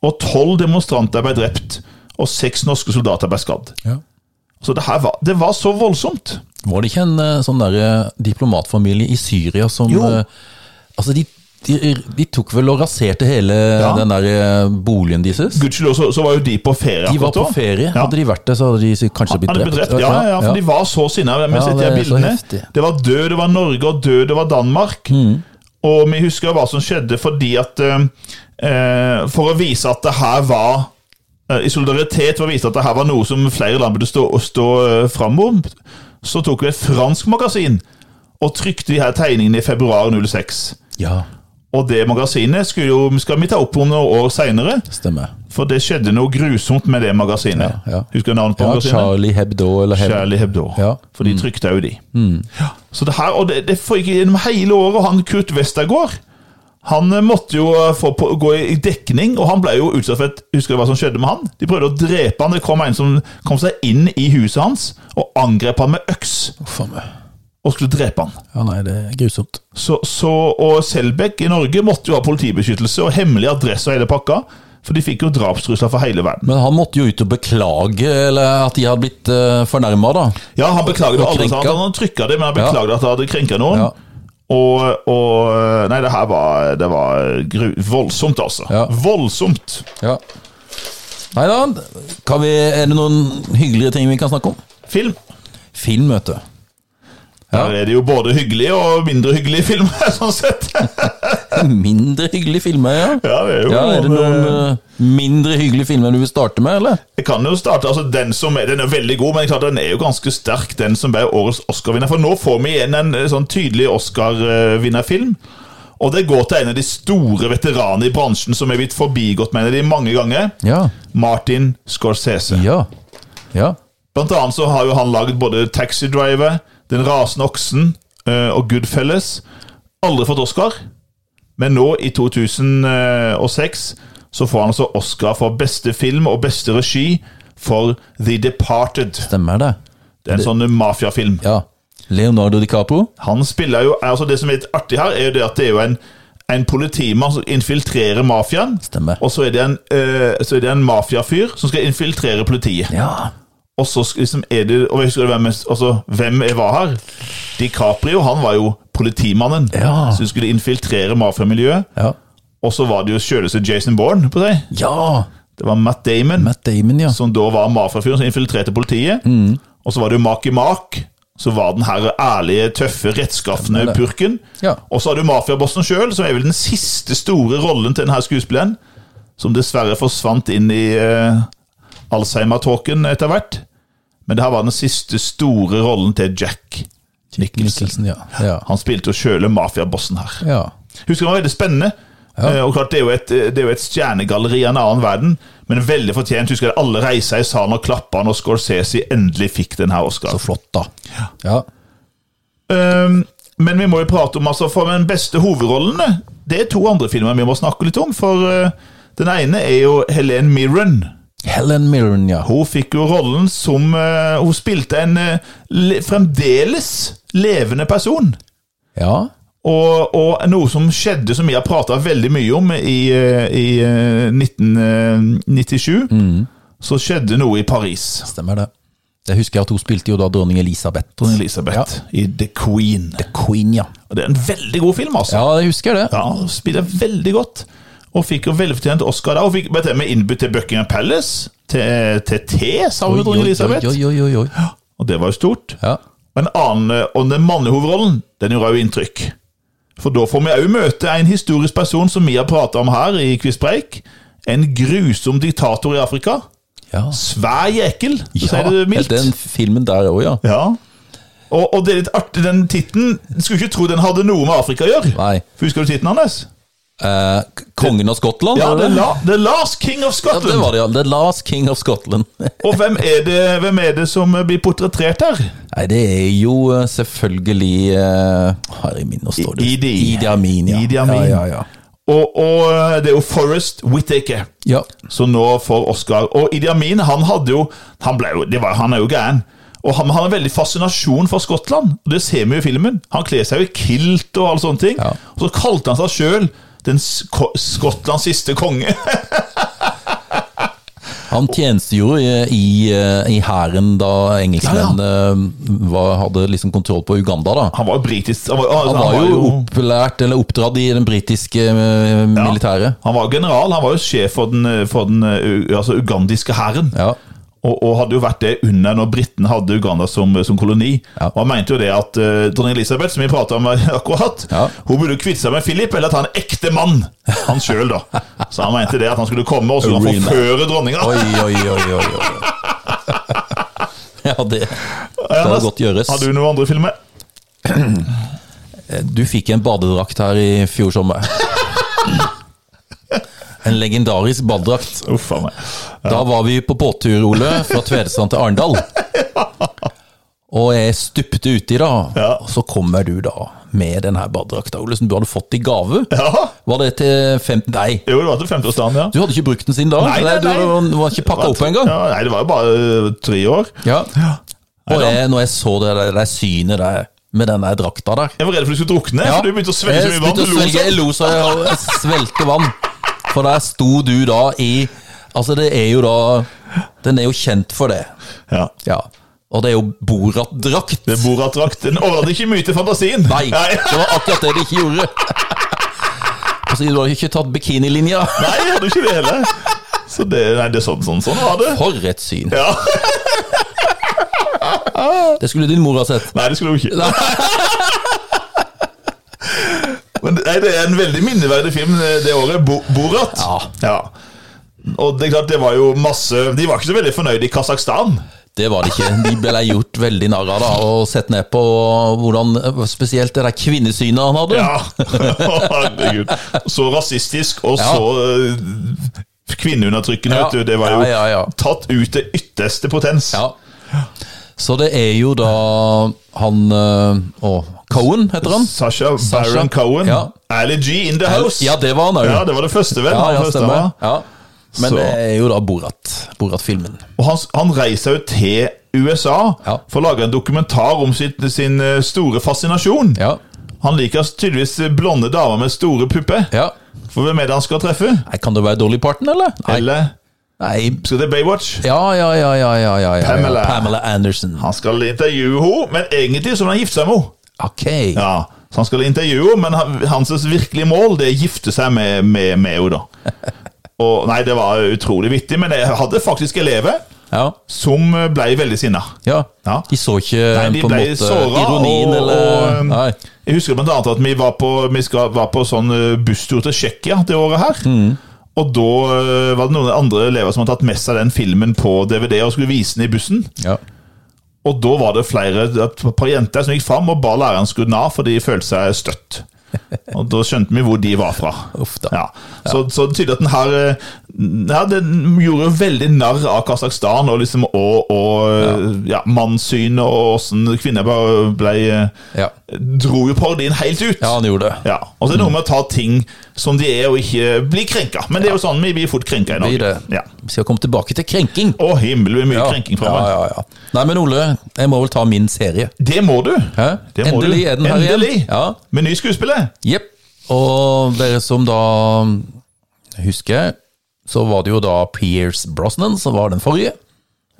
og tolv demonstranter ble drept, og seks norske soldater ble skadd. Så det her var, det var så voldsomt. Var det ikke en eh, sånn der eh, diplomatfamilie i Syria som Jo. eh, Altså, de de, de tok vel og raserte hele Ja. den der eh, boligen deres. Gudskjelov så, så var jo de på ferie. De var akkurat på da. ferie. Ja. Hadde de vært der, så hadde de sikkert kanskje blitt Hadde blitt drept. drept. Ja, ja, for de var så sinna. Vi har Ja, sett de det er her så bildene. heftig. Mm. Det var død, det var Norge, og død, det var Danmark. Og vi husker hva som skjedde fordi at eh, For å vise at det her var eh, I solidaritet for å vise at det her var noe som flere land burde stå, stå eh, fram om, så tok vi et fransk magasin og trykte de her tegningene i februar 06. Ja, Og det magasinet skulle jo, skal vi ta opp om noen år seinere, stemmer. for det skjedde noe grusomt med det magasinet. Ja, ja. Husker du navnet på Ja, magasinet? Charlie Hebdo eller Hebdo. Charlie Hebdo. Ja. Mm. For de trykte jo de. Ja. Så det her, og det, det foregikk gjennom hele året. og Han Kurt Westergård han eh, måtte jo eh, få på, gå i dekning, og han ble jo utsatt for et Husker du hva som skjedde med han? De prøvde å drepe han. Det kom en som kom seg inn i huset hans og angrep han med øks Uff a meg. og skulle drepe han. Ja, nei, det er grusomt. Så, så, og Selbekk i Norge måtte jo ha politibeskyttelse og hemmelig adresse og hele pakka, for de fikk jo drapstrusler fra hele verden. Men han måtte jo ut og beklage eller at de hadde blitt uh, fornærma, da. Ja, han beklaget Og aldri. krenka. sant? Han trykka det, men han beklaget at han hadde krenka noen. Ja. Og, og Nei, det her var, det var gru, voldsomt, altså. Ja. Voldsomt. Ja. Nei da, kan vi, er det noen hyggeligere ting vi kan snakke om? Film. Film, vet du. Ja. Der er det jo både hyggelige og mindre hyggelige filmer, sånn sett. Mindre hyggelige filmer, ja. Ja, det er jo Ja, Er det noen eh, mindre hyggelige filmer du vil starte med, eller? Jeg kan jo starte, altså Den som er, den er veldig god, men klart den er jo ganske sterk, den som ble årets Oscar-vinner. For nå får vi igjen en eh, sånn tydelig Oscar-vinnerfilm. Og det går til en av de store veteranene i bransjen som er blitt forbigått med en av de mange ganger. Ja. Martin Scorsese. Ja. Ja. Blant annet så har jo han laget både Taxi Driver, Den rasende oksen eh, og Goodfellas. Aldri fått Oscar, men nå i 2006 så får han altså Oscar for beste film og beste regi for The Departed. Stemmer det. Det er en sånn mafiafilm. Ja. Leonardo DiCapro. Han spiller jo, altså Det som er litt artig her, er jo det at det er jo en, en politimann som infiltrerer mafiaen. Stemmer. Og så er det en, eh, så er det en mafiafyr som skal infiltrere politiet. Ja. Og så sk- liksom er det Og jeg husker hvem, altså, hvem jeg var her? DiCaprio han var jo politimannen Ja. som skulle infiltrere mafiamiljøet. Ja. Og så var det jo selveste Jason Bourne på seg. ja. Det var Matt Damon, Matt Damon, ja. som da var mafiafyren som infiltrerte politiet. Mm. Og så var det jo Marky Mark, som var den her ærlige, tøffe, rettskaffende purken. Ja. Og så har du mafiabossen sjøl, som er vel den siste store rollen til denne skuespilleren. Som dessverre forsvant inn i eh, Alzheimer-tåken etter hvert. Men det her var den siste store rollen til Jack. Nicholson, ja. Ja. Han spilte jo sjøle mafiabossen her. ja. Husker han var veldig spennende. Eh, Og klart, det er, jo et, det er jo et stjernegalleri av en annen verden, men veldig fortjent. Husker jeg alle reiste i salen og klappa når Scorsese endelig fikk den her Oscar. Så flott, da. Ja. Ehm, men vi må jo prate om altså, for den beste hovedrollene. Det er to andre filmer vi må snakke litt om. For eh, den ene er jo Helen Mirren. Helen Mirren, ja. Hun fikk jo rollen som eh, Hun spilte en eh, le, fremdeles levende person. Ja. Og, og noe som skjedde, som vi har prata veldig mye om i, eh, i eh, 1997, Mm. så skjedde noe i Paris. Stemmer det. Jeg husker at hun spilte jo da dronning Elisabeth. Dronning Elisabeth i The Queen. Queen, ja. Og det er en veldig god film, altså. Ja, jeg husker det. Ja, han spiller veldig godt. Og fikk jo velfortjent Oscar da. Og fikk vet du, med innbud til Buckingham Palace, til, til te, sa hun dronning Elisabeth. Oi, oi, oi, oi. Og det var jo stort. Ja. Og en annen, eh, og den mannlige hovedrollen, den gjorde jo inntrykk. For da får vi òg møte en historisk person som vi har prata om her i Quizpreik. En grusom diktator i Afrika. ja. Svær jekkel, for å si det mildt. Den filmen der òg, ja. Ja. Og, og det er litt artig, den tittelen Skulle ikke tro den hadde noe med Afrika å gjøre. Nei. Husker du tittelen hans? Eh, k- Kongen av Skottland? Ja, var The, det? La The Last King of ja, Scotland. det var det, ja. The Last King of Scotland. Og hvem er, det, hvem er det som blir portrettert her? Nei, det er jo eh, selvfølgelig eh, Her i minnet står det Idi. Idi Amin, ja. Idi Amin. Ja, ja, ja. Og, og eh, det er jo Forrest Whittaker ja. som nå får Oscar. Og Idi Amin, han hadde jo Han, ble jo, det var, han er jo gæren. Og han, han har veldig fascinasjon for Skottland, og det ser vi jo i filmen. Han kler seg jo i kilt og alle sånne ting. Ja. Og så kalte han seg sjøl den sk Skottlands siste konge. Han tjenestegjorde i- i, eh, i hæren da engelskmennene eh, var- hadde liksom kontroll på Uganda. da. Han var jo britisk Han var, Han var jo opplært, eller oppdratt i den britiske eh, militæret. Han var general, han var jo sjef for den, eh, for den eh, u- altså, ugandiske hæren. Ja. Og, og hadde jo vært det under når britene hadde Uganda som, som koloni. Ja. Og Han mente jo det at eh, dronning Elisabeth, som vi prata om eh, akkurat, Ja. hun burde kvitte seg med Philip eller ta en ekte mann, han sjøl, da. Så han mente det at han skulle komme og så skulle han Arena. forføre dronninga. Oi, oi, oi, oi. oi. Ja, det skal godt gjøres. Eh, Har du noen andre filmer? Du fikk en badedrakt her i fjor sommer. En legendarisk badedrakt. Uff a meg. Da var vi på båttur, Ole, fra Tvedestrand til Arendal. Og jeg stupte uti, da. Ja. Og så kommer du da med den her badedrakta, Ole, som du hadde fått i gave. Ja. Var det til fem... Nei, Jo, det var til 50-årsdagen, ja. du hadde ikke brukt den siden da? Nei, nei, Du nei. du var ikke pakka opp engang? Ja, nei, det var jo bare eh, tre år. Ja. Og jeg, når jeg så det der, det der synet der, med den der drakta der Jeg var redd for du skulle drukne, Ja. for du begynte å svelge så Jeg mye vann. begynte å du lo svelge- sånn. Jeg lo så jeg jeg svelgte vann. For der sto du da i Altså, det er jo da Den er jo kjent for det. Ja. Ja. Og det er jo Borat-drakt. Det er Borat-drakt. Den overlater ikke mye til fantasien. Nei, det var akkurat det de ikke gjorde. Altså, du har ikke tatt bikinilinja. Nei, jeg hadde jo ikke det heller. Så det, nei, det er sånn, sånn, sånn var det. For et syn. Ja. Det skulle din mor ha sett. Nei, det skulle du ikke. Men nei, det er en veldig minneverdig film eh, det året. Bo Borat. Ja. Og det er klart, det var jo masse De var ikke så veldig fornøyd i Kasakhstan. Det var det ikke. De ble gjort veldig narr av da, og sett ned på hvordan Spesielt det der kvinnesynet han hadde. Ja. Herregud. Så rasistisk og Ja. så eh, kvinneundertrykkende, Ja. vet du. Det var jo Ja, ja, ja. tatt ut til ytterste potens. Ja. Så det er jo da han eh, Å, Cohen heter han? Sasha Baron sånn. Sacha. Cohen. Ja. Ali G in the house. Ja, det var han òg. Ja, det var det første, vel? Ja, Han ja, første, stemmer. ja. Ja. Men Så- det er jo da Borat. Borat-filmen. Og han, han reiser jo til USA Ja. for å lage en dokumentar om sitt, sin eh, store fascinasjon. Ja. Han liker tydeligvis blonde damer med store pupper. ja. For hvem er det han skal treffe? Nei, kan det være Dolly Parton, eller? Nei. Eller Nei. skal det Baywatch? Ja, ja, ja, ja, ja, ja, ja. Pamela. Pamela Anderson. Han skal intervjue henne, men egentlig så vil han gifte seg med henne. Ok. Ja, så han skal intervjue henne, men han- hans virkelige mål det er å gifte seg med med- med henne, da. Og, nei, det var utrolig vittig, men jeg hadde faktisk elever Ja. som ble veldig sinna. ja. Ja. De så ikke eh, Nei, de på en ble måte såret, ironien og- eller og- um, Nei. Jeg husker blant annet at vi var på, vi skal, var på sånn eh, busstur til Tsjekkia det året her. Og da eh, var det noen andre elever som hadde tatt med seg den filmen på DVD og skulle vise den i bussen. Ja. Og da var det flere, et par jenter som gikk fram og ba læreren skru den av, for de følte seg støtt. Og da skjønte vi hvor de var fra. Uff da. Ja. Så, så det tyder at den her eh, ja, Den gjorde jo veldig narr av Kasakhstan og, liksom, og, og ja. mannssynet og åssen kvinner bare ble eh, Ja. Dro jo parodien helt ut. ja, han gjorde det. Ja, Og så er det noe med å ta ting som de er, og ikke bli krenka. Men det er jo sånn, vi blir fort krenka i Blir Norge. det. Ja. Vi skal komme tilbake til krenking. Å, himmel, hvor mye Ja. krenking fra ja, meg. ja, ja. Nei, men Ole, jeg må vel ta min serie. Det må du! Hæ? Det må Endelig du. er den her Endelig. igjen. Ja. Med ny skuespiller. Jepp. Og dere som da husker, så var det jo da Pierce Brosnan som var den forrige.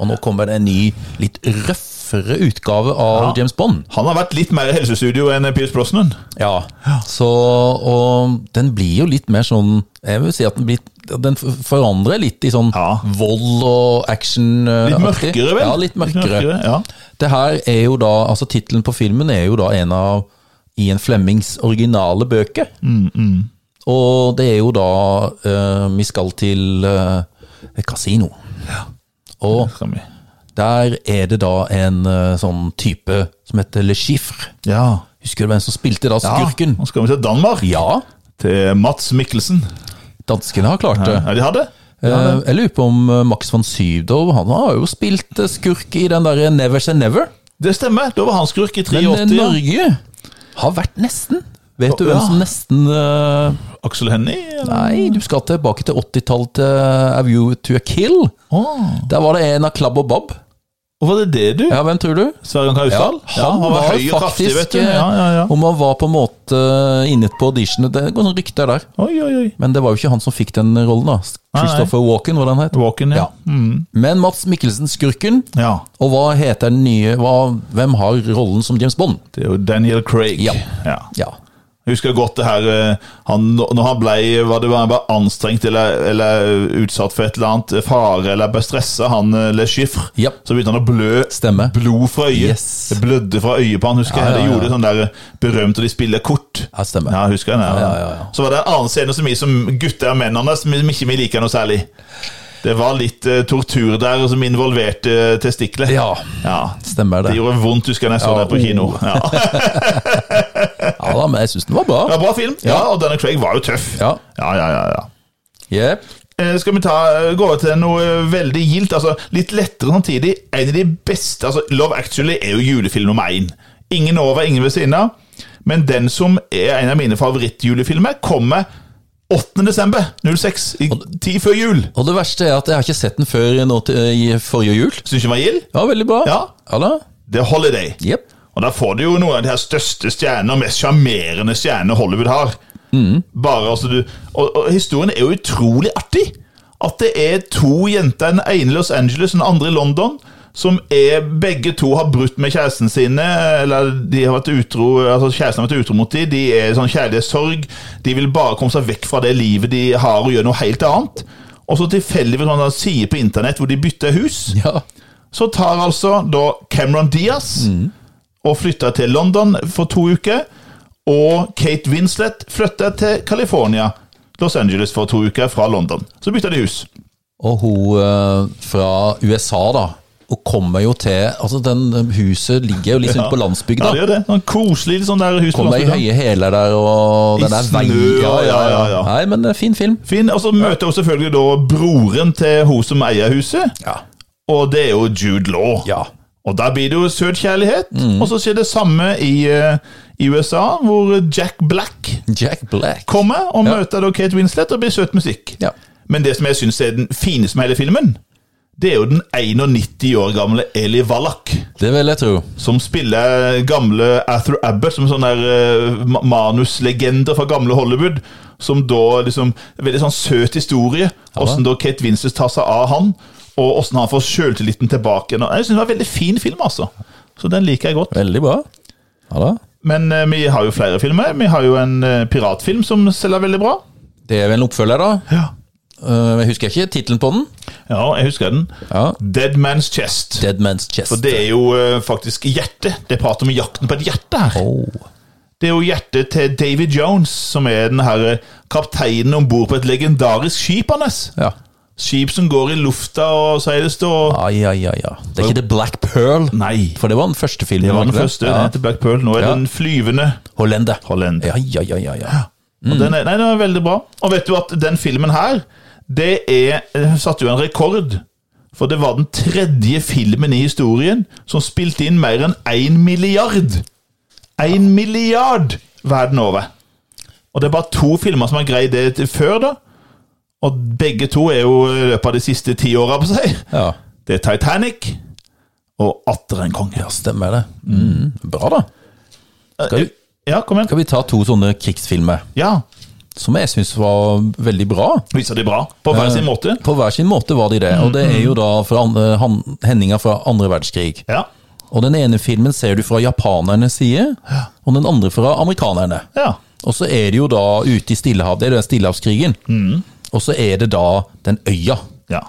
Og nå kommer det en ny, litt røffere utgave av James Bond. Han har vært litt mer i helsestudio enn Pius Brosnan. Ja. Så, og den blir jo litt mer sånn Jeg vil si at den, blir, den forandrer litt i sånn Ja. vold og action. eh, Litt aktig. mørkere, vel? Ja, litt mørkere. ja. Det her er jo da, altså Tittelen på filmen er jo da en av Ian Flemmings originale bøker. Mm, Og det er jo da eh, vi skal til eh, et kasino. Og Skal vi. der er det da en eh, sånn type som heter Le Chiffre. ja. Husker du hvem som spilte da skurken? Nå skal vi til Danmark. Ja, Til Mats Mikkelsen. danskene har klart det. Ja, de hadde? Eh, jeg lurer på om eh, Max von Sydow han har jo spilt eh, skurk i den derre Never Say Never. Det stemmer. Da var han skurk i Men eh, 83. ja. Norge har vært nesten. Vet du Ja. hvem som nesten eh, Aksel Hennie? eller? Nei, du skal tilbake til 80-tallet til A View eh, to a Kill. Å. Der var det en av Klabb og Bob. Hvorfor er det det, du? Ja, hvem tror du? Sverre Kausdal? han var høy og kraftig, faktisk eh, vet du. Ja, ja, ja. Om han var på en måte eh, inne på auditionet Det går noen rykter der. Oi, oi, oi. Men det var jo ikke han som fikk den rollen, da. Christopher Walken, hva den het. Walken, ja. Mm. Ja. Men Mats Mikkelsen, skurken. ja. Og hva heter den nye hva, Hvem har rollen som James Bond? Det er jo Daniel Craig. Ja. ja. Ja. Jeg husker godt det her eh, han, Når han ble, var det, var han bare anstrengt eller, eller utsatt for et eller annet fare eller ble stressa, han eh, Le Chiffre, Ja. så begynte han å blø Stemme. blod fra øyet. Yes. Det blødde fra øyet på han, husker Ja, ja, jeg. ja. Det gjorde sånn der berømt, og de spiller kort. Ja, stemmer. Ja, husker jeg det. Ja, ja, ja, ja. Så var det en annen scene som vi som gutter og mennene som ikke vi liker noe særlig. Det var litt eh, tortur der som involverte eh, testikler. ja. ja. Stemmer Det det. gjorde vondt, husker jeg, når jeg Ja, så oh. det på kino. Ja. Ja da, Men jeg syns den var Det bra. var bra film, ja, og denne Craig var jo tøff. Ja. ja, ja, ja, ja. Jep. Eh, Skal vi ta, gå over til noe veldig gildt, altså litt lettere samtidig. En av de beste altså Love Actually er jo julefilm nummer én. Ingen over, ingen ved siden av. Men den som er en av mine favorittjulefilmer, kommer 8. desember 06. I, ti før jul. Og det verste er at jeg har ikke sett den før nå til, i forrige jul. Syns du den var gild? Ja, veldig bra. Ja. ja da. The Holiday. Jep. Og da får du jo noen av de her største stjerner, mest sjarmerende stjerner Hollywood har. Bare altså du og, og historien er jo utrolig artig. At det er to jenter, den ene i Los Angeles og den andre i London, som er begge to har brutt med kjæresten sine, eller de har vært utro, altså kjæresten har vært utro mot dem, de er i sånn kjærlighetssorg, de vil bare komme seg vekk fra det livet de har og gjøre noe helt annet. Og så tilfeldigvis sånn en side på internett hvor de bytter hus. Ja. Så tar altså da Cameron Diaz Mm. og flytter til London for to uker. Og Kate Winslet flytter til California, Los Angeles, for to uker fra London. Så bytter de hus. Og hun eh, fra USA, da. Hun kommer jo til Altså, den eh, huset ligger jo liksom på Ja, landsbygda. det gjør det. Sånn koselig sånn der hus på Kommer i landsbygda. høye hæler der, og I den der snø, veien ja, ja, ja. Nei, men det er fin film. Fin, Og så møter hun selvfølgelig da broren til hun som eier huset, Ja. og det er jo Jude Law. Ja. Mm. Og der blir det jo søt kjærlighet. Og så skjer det samme i, eh, i USA, hvor Jack Black Jack Black. kommer og møter da Kate Winslet og blir søt musikk. Ja. Men det som jeg syns er den fineste med hele filmen, det er jo den 91 år gamle Eli Wallach, Det vil jeg tro. som spiller gamle Arthur Abbott, som en sånn der eh, ma- manuslegende fra gamle Hollywood. Som da liksom Veldig sånn søt historie. Åssen da Kate Winslet tar seg av han, og åssen han får sjøltilliten tilbake. igjen. Jeg syns det var en veldig fin film, altså. Så den liker jeg godt. Veldig bra. Ja da. Men eh, vi har jo flere filmer. Vi har jo en eh, piratfilm som selger veldig bra. Det er vel en oppfølger, da. Ja. Eh, Jeg husker ikke tittelen på den. ja, jeg husker den. Ja. Dead Man's Chest. Dead Man's Chest. Og det er jo eh, faktisk hjertet. Det er prat om jakten på et hjerte her. oh. Det er jo hjertet til David Jones, som er den her eh, kapteinen om bord på et legendarisk skip hans. Ja. Skip som går i lufta, og så er det stå Ai, ai, ai, ai. Det er ikke The Black Pearl, Nei. for det var den første filmen. Det var den ikke første. Den Ja. heter Black Pearl. Nå er Ja. den flyvende. Hollende. Hollende. Ja, ja, ja, ja, ja. Og Den er, nei, den er veldig bra. Og vet du at den filmen her, det er eh, satte jo en rekord. For det var den tredje filmen i historien som spilte inn mer enn én milliard. Én milliard verden over. Og det er bare to filmer som har greid det til før, da. Og begge to er jo i løpet av de siste ti åra på seg. ja. Det er Titanic og Atter en konge. Ja, stemmer det. Mm. Bra, da. Skal, vi- Ja, kom igjen. skal vi ta to sånne krigsfilmer Ja, som jeg syns var veldig bra? viser de bra. På hver sin måte. På hver sin måte var de det. Og det er jo da fra an- eh, han- hendinger fra andre verdenskrig. Ja. Og den ene filmen ser du fra japanernes side, og den andre fra amerikanerne. Ja. Og så er det jo da ute i Stillehavet, det er den Stillehavskrigen. Mm. Og så er det da den øya. ja.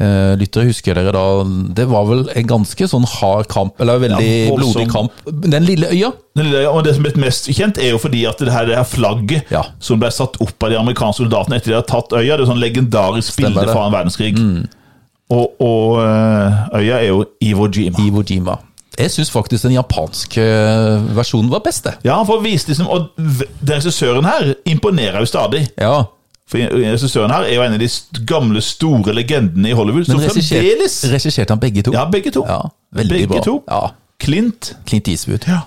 Eh, lyttere, husker dere da Det var vel en ganske sånn hard kamp, eller veldig Ja, voldsom. blodig kamp. Den lille øya. Den lille øya, Og det som ble mest kjent, er jo fordi at det her, det her flagget Ja. som ble satt opp av de amerikanske soldatene etter de hadde tatt øya, det er jo sånn legendarisk Stemmer bilde det. Mm. fra en verdenskrig. Og, og øh, øya er jo Iwo Jima. Iwo Jima. Jeg syns faktisk den japanske eh, versjonen var best, det. Ja, for å vise liksom, Og v- den regissøren her imponerer jo stadig. Ja. For regissøren her er jo en av de st- gamle, store legendene i Hollywood. Som Men regisserte fremdeles regisserte han begge to? Ja, begge to. Ja, veldig begge bra. to. Ja. Clint. Clint Eastwood. Ja.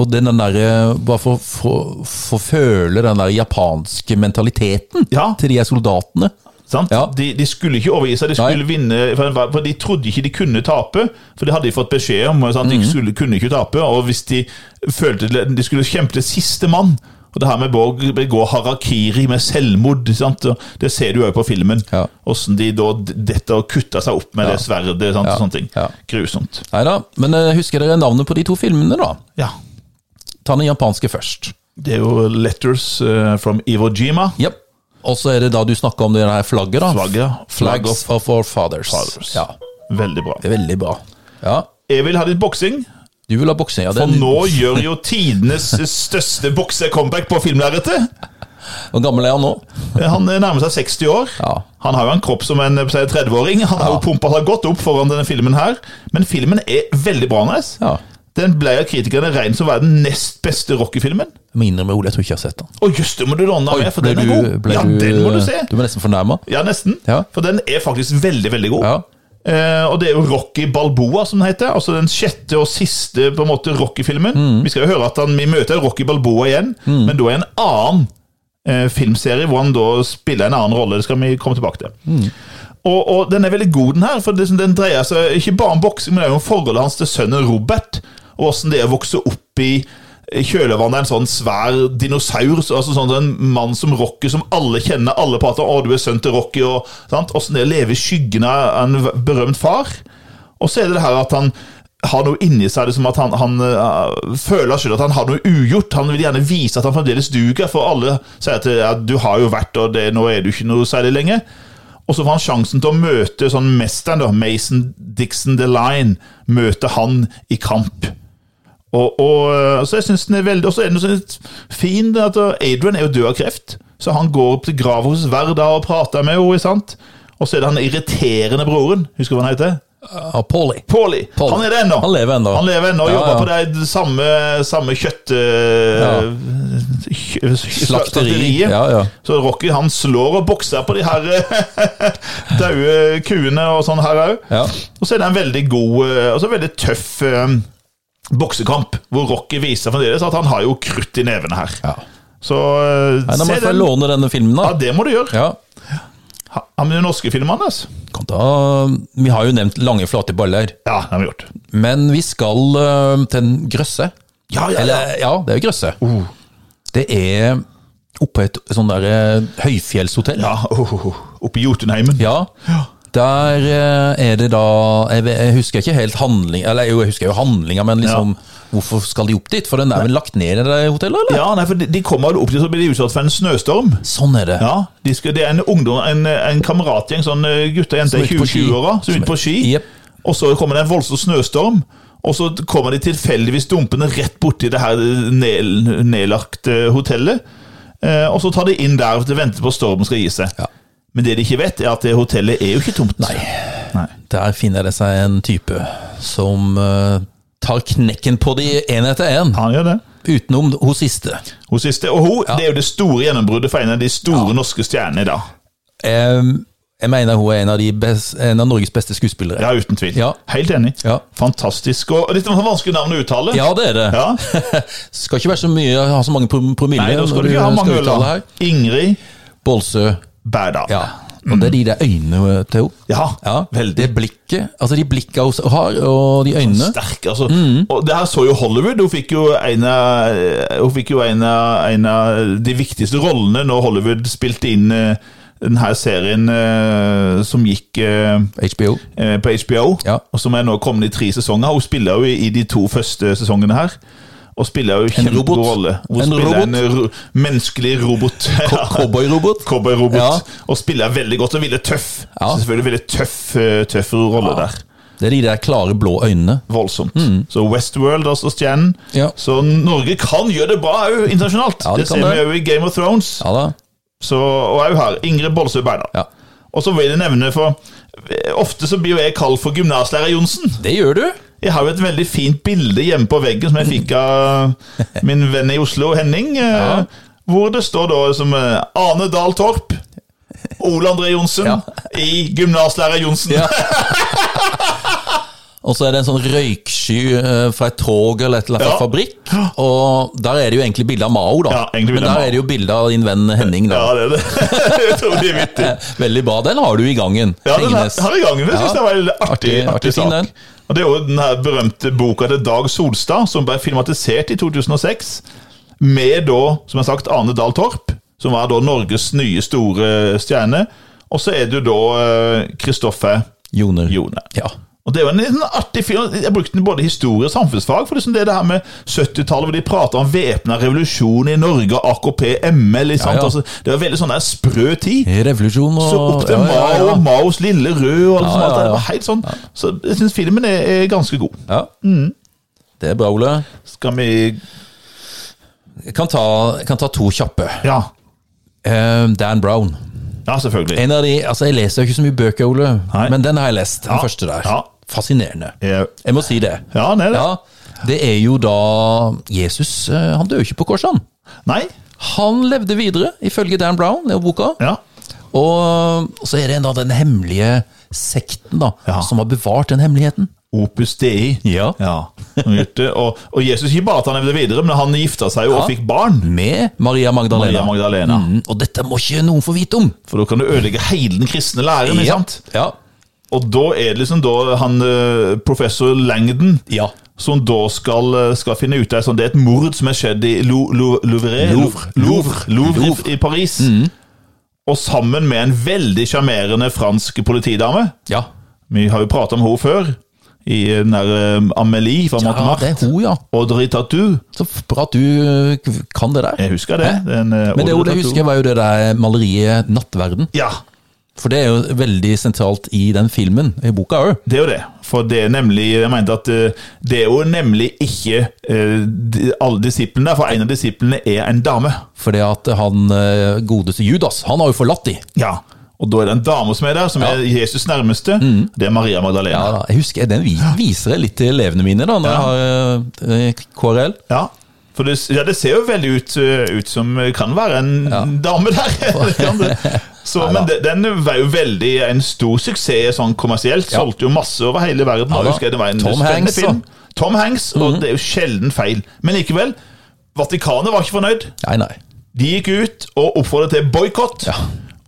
Og den derre Bare for for- for å føle den der japanske mentaliteten Ja. til de her soldatene. Sant? Ja. De, de skulle ikke overgi seg, de Nei. skulle vinne. For, enhver- for De trodde ikke de kunne tape, for det hadde de fått beskjed om. Sant? Mhm. De skulle, kunne ikke tape, og hvis de følte det- De skulle kjempe til siste mann. Og det her med Borg begår harakiri med selvmord, sant? og det ser du òg på filmen. Ja. Åssen de da d- detter og kutter seg opp med det sverdet. Sant? Ja. og Sånne ting. Ja. Grusomt. Nei da. Men eh, husker dere navnet på de to filmene, da? Ja. Ta den japanske først. Det er jo 'Letters eh, from Iwo Jima'. Yep. Og så er det da du snakka om det der flagget, da. Flagget, ja. Flag Flags of our fathers. Fathers. Ja. Veldig bra. Det er veldig bra. Ja. Jeg vil ha litt boksing. Du vil ha boksing? Ja, det Og er nå gjør jo tidenes største boksecomeback på filmlerretet. Hvor gammel er han nå? Han eh, nærmer seg 60 år. Ja. Han har jo en kropp som en eh, si, 30-åring. Han har jo pumpa seg godt opp foran denne filmen her. Men filmen er veldig bra. Nes. Ja. Den ble av kritikerne regnet som å være den nest beste rockefilmen. Jeg må innrømme, Ole, jeg tror ikke jeg har sett han. Å jøss, det må du låne Oi, med, for ble den er du- god! ble Ja, den må du se! Du ble nesten fornærma? Ja, nesten. Ja. For den er faktisk veldig, veldig god. Ja. Eh, og det er jo Rocky Balboa, som den heter. Altså den sjette og siste på en måte Rocky-filmen. Vi skal jo høre at han, vi møter Rocky Balboa igjen, men da i en annen eh, filmserie hvor han da spiller en annen rolle. Det skal vi komme tilbake til. Og, og den er veldig god, den her. For det, som den dreier seg ikke bare om boksing, men også om forholdet hans til sønnen Robert, og åssen det er å vokse opp i kjølvannet av en sånn svær dinosaur. så- altså sånn En mann som Rocky, som alle kjenner, alle prater om. 'Å, du er sønnen til Rocky', og sant? åssen det er å leve i skyggen av en v- berømt far. Og så er det det her at han har noe inni seg, liksom at han, han eh, føler selv at han har noe ugjort. Han vil gjerne vise at han fremdeles duger, for alle sier at ja, du har jo vært, og det, nå er du ikke noe særlig lenger. Og så får han sjansen til å møte sånn mesteren, da, Mason Dixon DeLine. Møte han i kamp. Og, og eh, så jeg synes den er veldig Og så er den sånn litt fin det at eh, Adrian er jo død av kreft, så han går opp til grava hos hver dag og prater med henne. sant? Og så er det han irriterende broren. Husker du hva han heter? Ja, Paulie. Paulie. Paul. Han er det ennå. Han lever ennå. Han lever ennå og Ja, jobber ja. på det samme, samme kjøtt... eh, kjø- Slakteriet. Ja, ja. Så Rocky han slår og bokser på de her eh, daue kuene og sånn her òg. Ja. Og så er det en veldig god eh, og så veldig tøff eh, boksekamp, hvor Rocky viser fremdeles at han har jo krutt i nevene her. ja. Så eh, Nei, da må se jeg få den. låne denne filmen, Ja, da. det må du gjøre. Ja. Ha, ha med de norske filmene, altså. Kom da. Vi har jo nevnt Lange, flate baller. Ja, det har vi gjort. Men vi skal eh, til en grøsse. Ja, ja, ja. Oh. Eller, ja, det er jo grøsse. Det er oppe et sånn der eh, høyfjellshotell. ja oh, oh, oh. Oppe i Jotunheimen. Ja. Der eh, er det da Jeg, ve- jeg husker ikke helt handling Eller jo, jeg husker jo handlinga, men liksom Hvorfor skal de opp dit? For den er vel lagt ned i det hotellet, eller? Ja, nei, for de, de kommer opp dit, så blir de utsatt for en snøstorm. Sånn er det. Ja, de skal, Det er en ungdom, en, en kameratgjeng, sånn eh, gutter og Som jenter i er ute på ski. 20-åra, som er ute på ski. Jep. Og så kommer det en voldsom snøstorm, og så kommer de tilfeldigvis dumpende rett borti det her ned, nedlagte hotellet. Eh, og så tar de inn der og venter på at stormen skal gi seg. Ja. Men det de ikke vet, er at det hotellet er jo ikke tomt. Nei. Der finner det seg en type som eh, tar knekken på de én etter én, Han gjør det. utenom hun siste. Hun siste, og hun, det er jo det store gjennombruddet for en av de store norske stjernene i dag. Em, jeg mener hun er en av, de best, en av Norges beste skuespillere. Ja, uten tvil. Ja. Helt enig. Ja. Fantastisk. Og og litt sånn vanskelig navn å uttale. Ja, det er det. Ja. Skal ikke være så mye, ha så mange prom- promille Nei, da skal du ikke ha mange øl, uttale da. her. Ingrid Bolsø. Berdal. Ja. Og det er de der øynene til henne. Ja, Ja, Mm. veldig Det blikket, altså de blikka hun har, og de øynene. sterk, altså. Mm. Og det her så jo Hollywood. Hun fikk jo en av, hun fikk jo en av, en av de viktigste rollene når Hollywood spilte inn eh, denne serien eh, som gikk eh, HBO. eh, på HBO, Ja. og som er nå kommet i tre sesonger. Hun spiller jo i, i de to første sesongene her. Og spiller jo En kjempegod robot. rolle. Hun En spiller robot. en ro menneskelig robot. Ja. Cowboyrobot. Cowboy-robot. Ja. Og spiller veldig godt og veldig tøff. Ja. Så Selvfølgelig veldig tøff, eh, tøff rolle der. Det er de der klare blå øynene. Voldsomt. Så Westworld altså stjernen. Mm. Ja. Så Norge kan gjøre det bra òg internasjonalt. Ja, det det kan ser vi det. òg i Game of Thrones. Ja da. Så, og òg her. Ingrid Bolsø Berdal. Ja. Og så vil jeg nevne, for eh, ofte så blir jo jeg kalt for gymnaslærer Johnsen. Det gjør du. Jeg har jo et veldig fint bilde hjemme på veggen som jeg fikk av min venn i Oslo, Henning. eh, Ja. Hvor det står da som eh, Ane Dahl Torp, Ole André Johnsen Ja. i Gymnaslærer Johnsen. Ja. Og så er det en sånn røyksky eh, fra et tog eller et eller annet Ja. fabrikk. Og der er det jo egentlig bilde av Mao, da. Ja, egentlig bilde Men av der Mao. er det jo bilde av din venn Henning, da. Ja, det er det. Utrolig vittig. Veldig bra. Den har du i gangen. Ja, den Hengnes. er- har vi i gangen. Det synes Ja. jeg var en artig, artig, Artig- artig ting, sak. den. Og Det er jo den her berømte boka til Dag Solstad, som ble filmatisert i 2006, med da, som jeg har sagt, Arne Dahl Torp, som var da Norges nye store eh, stjerne. Og så er det jo da eh, Kristoffer Joner. Jone. Ja. Og det er jo en litt sånn artig film. Jeg brukte den både i historie og samfunnsfag. For liksom det er det her med 70-tallet, hvor de prater om væpna revolusjon i Norge og AKP, ML. Ikke Ja, sant? ja. Altså, det var veldig sånn der sprø tid. Revolusjon og Så opp til ja, ja, ja. Mao og Maos lille rød og alt Ja, sånt. ja, ja. Det var helt sånn. Så jeg syns filmen er, er ganske god. Ja. Mm. Det er bra, Ole. Skal vi Jeg kan ta, jeg kan ta to kjappe. Ja, Eh, Dan Brown. ja selvfølgelig. En av de, altså Jeg leser jo ikke så mye bøker, Ole, Nei. men den har jeg lest. Den Ja. første der. Ja. Fascinerende. Ja, Jeg må si det. Ja, det er det. Ja, det er jo da Jesus eh, Han døde jo ikke på korset, han. Nei? Han levde videre, ifølge Dan Brown, i boka. Ja. Og så er det en av den hemmelige sekten da, Ja. som har bevart den hemmeligheten. Opus Dei. Ja. Vet du, Og, og Jesus ikke bare at han levde videre, men han gifta seg jo og Ja. fikk barn. Med Maria Magdalena. Maria Magdalena. Mm, og dette må ikke noen få vite om! For da kan du ødelegge hele den kristne læren. ikke sant? Ja. Og da er det liksom da han eh, professor Langdon ja. som da skal, eh, skal finne ut av sånn, Det er et mord som er skjedd i Lou- Lou- Louvre, Louvre. Mm. Louvre, Louvre, Louvre, i i Paris. Og sammen med en veldig sjarmerende fransk politidame Ja, Vi har jo pratet om henne før, i den der eh, Amélie fra ja det Montemart. er hun, ja. Audrey Tatou. Så bra at du eh, kan det der. Jeg husker det. Den, eh, Men det Audrey Ole Tautou. husker, var jo det der maleriet 'Nattverden'. Ja, For det er jo veldig sentralt i den filmen, i boka òg. Det er jo det. For det er nemlig Jeg mente at eh, det er jo nemlig ikke eh, de- alle disiplene, for en av disiplene er en dame. Fordi at han eh, godeste Judas, han har jo forlatt de. Ja. Og da er det en dame som er der, som Ja. Mm. er Jesus nærmeste. Det er Maria Magdalena. Ja, jeg husker, Den vi- viser jeg litt til elevene mine da, når jeg har eh, KRL. Ja. For det, ja, det ser jo veldig ut, eh, ut som det kan være en dame der. Det kan det. Så, men de- den var jo veldig en stor suksess sånn kommersielt. Ja. Solgte jo masse over hele verden. Ja, og da. husker jeg det var en Tom spennende Hanks, Mhm. film. Tom Hanks, og det er jo sjelden feil. Men likevel, Vatikanet var ikke fornøyd. Nei, nei. De gikk ut og oppfordret til boikott. Ja.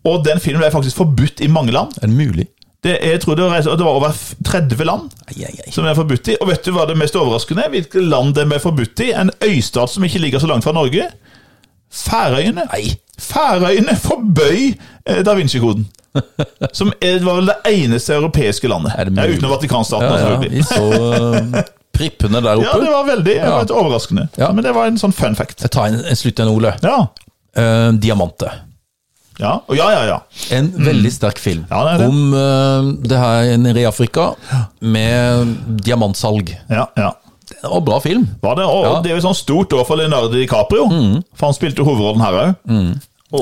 Og den filmen ble faktisk forbudt i mange land. Er det mulig? Det, jeg tror det var, det var over 30 land Ai, ai, ai. som den er forbudt i. Og vet du hva det mest overraskende er? Hvilke land den ble forbudt i? En øystat som ikke ligger så langt fra Norge. Færøyene. Nei. Færøyene forbøy eh, da Vinci-koden. Som er, var vel det eneste europeiske landet. Er det ja, mulig? utenom Vatikanstaten. Ja, ja, selvfølgelig. vi så eh, prippene der ja, det oppe. var veldig det var et overraskende. Ja. Men det var en sånn fun fact. Jeg tar en, en slutt igjen, Ole. Ja, Eh, 'Diamante'. ja, og ja, ja. ja. En veldig sterk film Mm. Ja, det er det. om eh, det her nede i Afrika med diamantsalg. ja, ja. Det var en bra film. Var det, og Ja. Mm. det er jo sånn stort år for Leonardo DiCaprio, for han spilte jo hovedrollen her òg.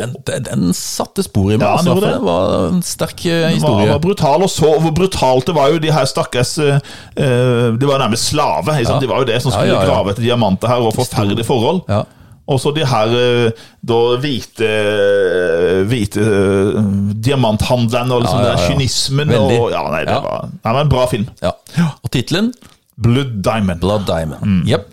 Den, den, den satte spor i meg. Ja, den altså, gjorde for det. det var en sterk eh, Han historie. var brutal, og så hvor brutalt det var jo de her stakkars eh, eh, Det var nærmest slave. Ikke Ja. sant? De var jo det som Ja, skulle ja, ja. grave etter diamanter her, og forferdelige forhold. Ja. Og så de her eh, da hvite, hvite eh, diamanthandlerne og liksom Ja, ja, ja. den kynismen Veldig. og Ja, nei, det Ja. var nei, men en bra film. Ja. Og tittelen? Blood Diamond. Blood Mm. Diamond. Jepp.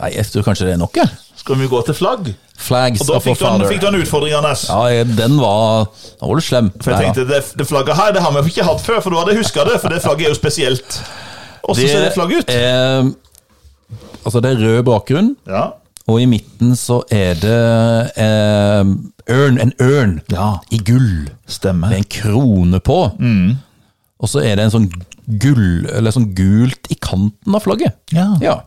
Nei, jeg tror kanskje det er nok, jeg. Skal vi gå til flagg? Flags Og da of our fikk du, en- father. fikk du en utfordring, Anders. Ja, jeg- den var Da var du slem. For jeg Nei, tenkte, det, det flagget her det har vi ikke hatt før, for da hadde jeg huska det. For det flagget er jo spesielt. da. Åssen ser det flagget ut? er- eh, altså, det er rød bakgrunn, Ja. og i midten så er det eh, ørn, en ørn Ja. Mm. i gull Stemmer. med en krone på. Og så er det en sånn gull, eller sånn gult i kanten av flagget. Ja. ja.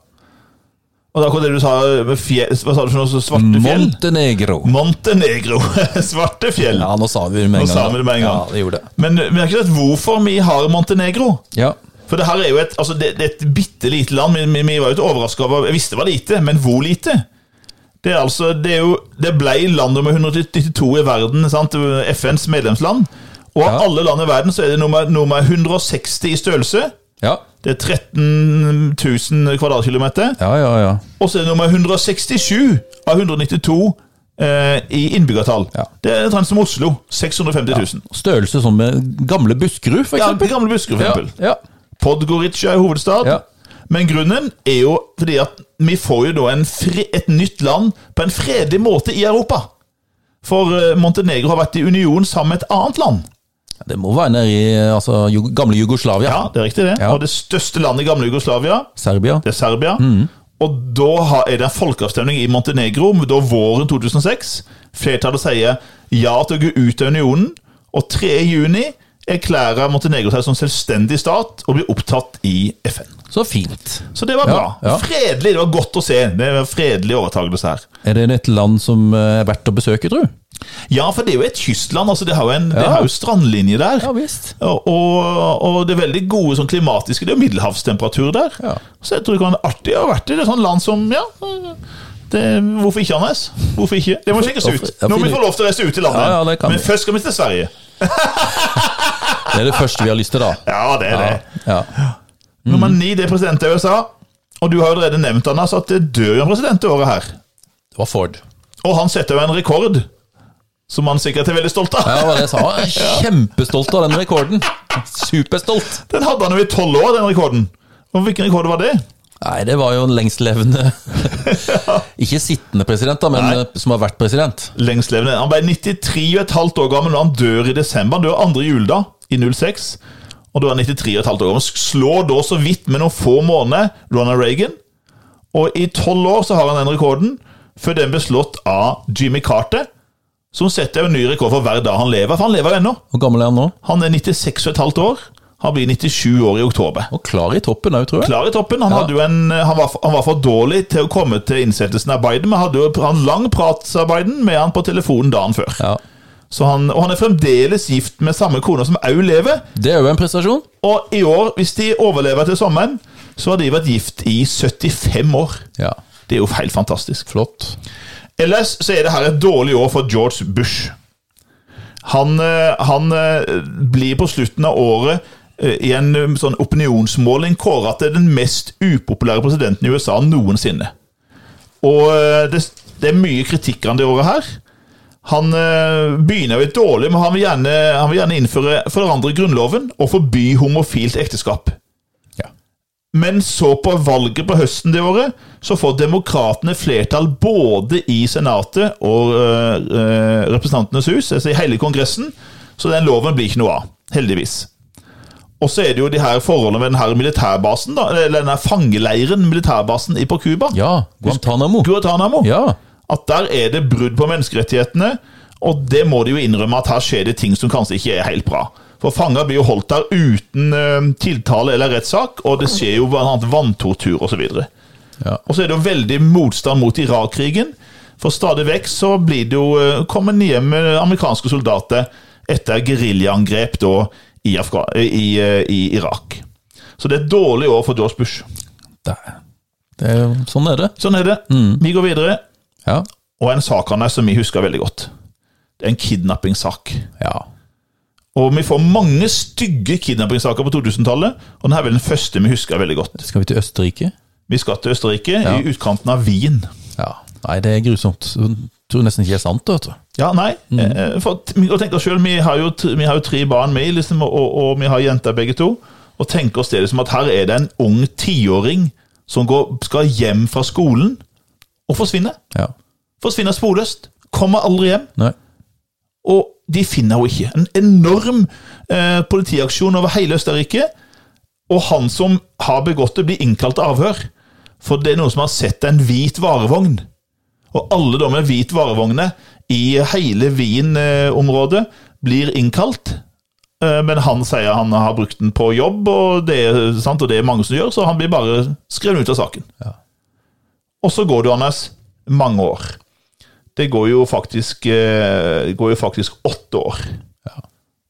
Og det er akkurat det du sa med fjell, Hva sa du for noe? så Svarte fjell? Montenegro. Montenegro. Svarte fjell. Ja, nå sa vi det med en gang. Nå sa da. vi det med en gang. Ja, det gjorde det. Men vi har ikke sett hvorfor vi har Montenegro. Ja. For det her er jo et, altså det, det er et bitte lite land. Vi, vi, vi var jo ikke overraska over Jeg visste det var lite, men hvor lite? Det er altså, det er jo, det ble land nummer 192 i verden, sant? FNs medlemsland. Og av Ja. alle land i verden så er det nummer, nummer 160 i størrelse. Ja, Det er 13 000 kvadratkilometer. ja, ja. ja. Og så er det nummer 167 av 192 eh, i innbyggertall. Ja. Det er omtrent som Oslo. 650 000. Størrelse som eh, gamle Buskerud, for Ja, eksempel. gamle Buskerud, for eksempel. Ja, ja. Podgorica er hovedstad. Ja. Men grunnen er jo fordi at vi får jo da en fri, et nytt land på en fredelig måte i Europa. For eh, Montenegro har vært i union sammen med et annet land. Det må være nede i altså, Jug- gamle Jugoslavia. Ja, det er riktig det. Ja. Og det største landet i gamle Jugoslavia, Serbia. det er Serbia. Og da har- er det en folkeavstemning i Montenegro da våren 2006. Flertallet sier ja til å gå ut av unionen, og 3. juni erklærer Montenegro seg som selvstendig stat og blir opptatt i FN. Så fint. Så det var Ja, bra. ja. Fredelig. Det var godt å se. Det var Fredelig overtagelse her. Er det et land som eh, er verdt å besøke, tro? Ja, for det er jo et kystland. altså Det har jo, en, det har jo strandlinje der. Ja visst. Og, og- og det er veldig gode sånn klimatiske Det er jo middelhavstemperatur der. Ja. Så jeg tror det kan være artig å ha vært i det sånn land som Ja, det, hvorfor ikke, Anders? Hvorfor ikke? Det må sjekkes Hvorfor- ut. ja, Nå må vi finn få lov til å reise ut i landet. Ja, ja, det kan Men vi. først skal vi til Sverige. Det er det første vi har lyst til, da. Ja, det er det. Ja. Nummer ni det er president i USA. Og du har jo allerede nevnt Anders, at det dør jo en president det året her. Det var Ford. Og han setter jo en rekord som han sikkert er veldig stolt av. Ja, det var det jeg sa. Jeg er Kjempestolt av den rekorden. Superstolt. Den hadde han jo i tolv år, den rekorden. Og hvilken rekord var det? Nei, det var jo en lengstlevende Ikke sittende president, da, men eh, som har vært president. Lengstlevende. Han ble 93 og et halvt år gammel når han dør i desember. Han dør andre juledag i 06. Og da er han 93 og et halvt år gammel. Slår da så vidt med noen få måneder Ronald Reagan. Og i tolv år så har han den rekorden, før den ble slått av Jimmy Carter. Som setter jo en ny rekord for hver dag han lever, for han lever jo ennå. Hvor gammel er han nå? Han er 96 og et halvt år. Han blir 97 år i oktober. Og klar i toppen òg, tror jeg. klar i toppen. Han, hadde jo en, eh, han, var, han var for dårlig til å komme til innsettelsen av Biden, men hadde jo en lang prat av Biden med han på telefonen dagen før. Ja. Så han, og han er fremdeles gift med samme kone som òg lever. Det er jo en prestasjon. Og i år, hvis de overlever til sommeren, så har de vært gift i 75 år. Ja, Det er jo helt fantastisk. Flott. Ellers så er det her et dårlig år for George Bush. Han, eh, han eh, blir på slutten av året eh, i en eh, sånn opinionsmåling kåret til den mest upopulære presidenten i USA noensinne. Og eh, det, det er mye kritikk av det året her. Han eh, begynner jo litt dårlig, men han vil gjerne, han vil gjerne innføre forandre grunnloven og forby homofilt ekteskap. Ja. Men så på valget på høsten det året, så får demokratene flertall både i Senatet og øh, øh, Representantenes hus, altså i hele Kongressen, så den loven blir ikke noe av, heldigvis. Og så er det jo de her forholdene med den her militærbasen, da, eller den her fangeleiren, militærbasen i- på Cuba, ja Guantánamo. Guantánamo, Ja. at der er det brudd på menneskerettighetene, og det må de jo innrømme at her skjer det ting som kanskje ikke er helt bra. For fanger blir jo holdt der uten øh, tiltale eller rettssak, og det skjer jo blant annet vanntortur osv. Og så videre. Ja. Og så er det jo veldig motstand mot Irak-krigen, for stadig vekk så blir det jo øh, kommet hjem med amerikanske soldater etter geriljaangrep da i, Afga i, øh, i Irak. Så det er et dårlig år for George Bush. Der. Det er, jo- sånn er det. Sånn er det. Vi går videre, Ja. og en sak han er som vi husker veldig godt. Det er en kidnappingssak. ja. Og vi får mange stygge kidnappingssaker på 2000-tallet, og den er vel den første vi husker veldig godt. Skal vi til Østerrike? Vi skal til Østerrike, i utkanten av Wien. Ja. Nei, det er grusomt. Jeg tror nesten ikke det er sant. vet du. Ja, nei, eh, for t- vi- og tenk oss selv, vi har jo, t- vi har jo tre barn med, liksom, og, og vi har jenter begge to, og tenk oss det liksom at her er det en ung tiåring som går, skal hjem fra skolen og forsvinner. Ja. Forsvinner sporløst, kommer aldri hjem. Nei. Og de finner henne ikke. En enorm eh, politiaksjon over hele Østerrike. Og han som har begått det, blir innkalt til avhør. For det er noen som har sett en hvit varevogn. Og alle de med hvit varevogner i hele Wien-området blir innkalt. Eh, Men han sier han har brukt den på jobb, og det, er, sant, og det er mange som gjør, så han blir bare skrevet ut av saken. Ja. Og så går det, Anders, mange år. Det går jo faktisk, eh, det går jo faktisk åtte år. Ja.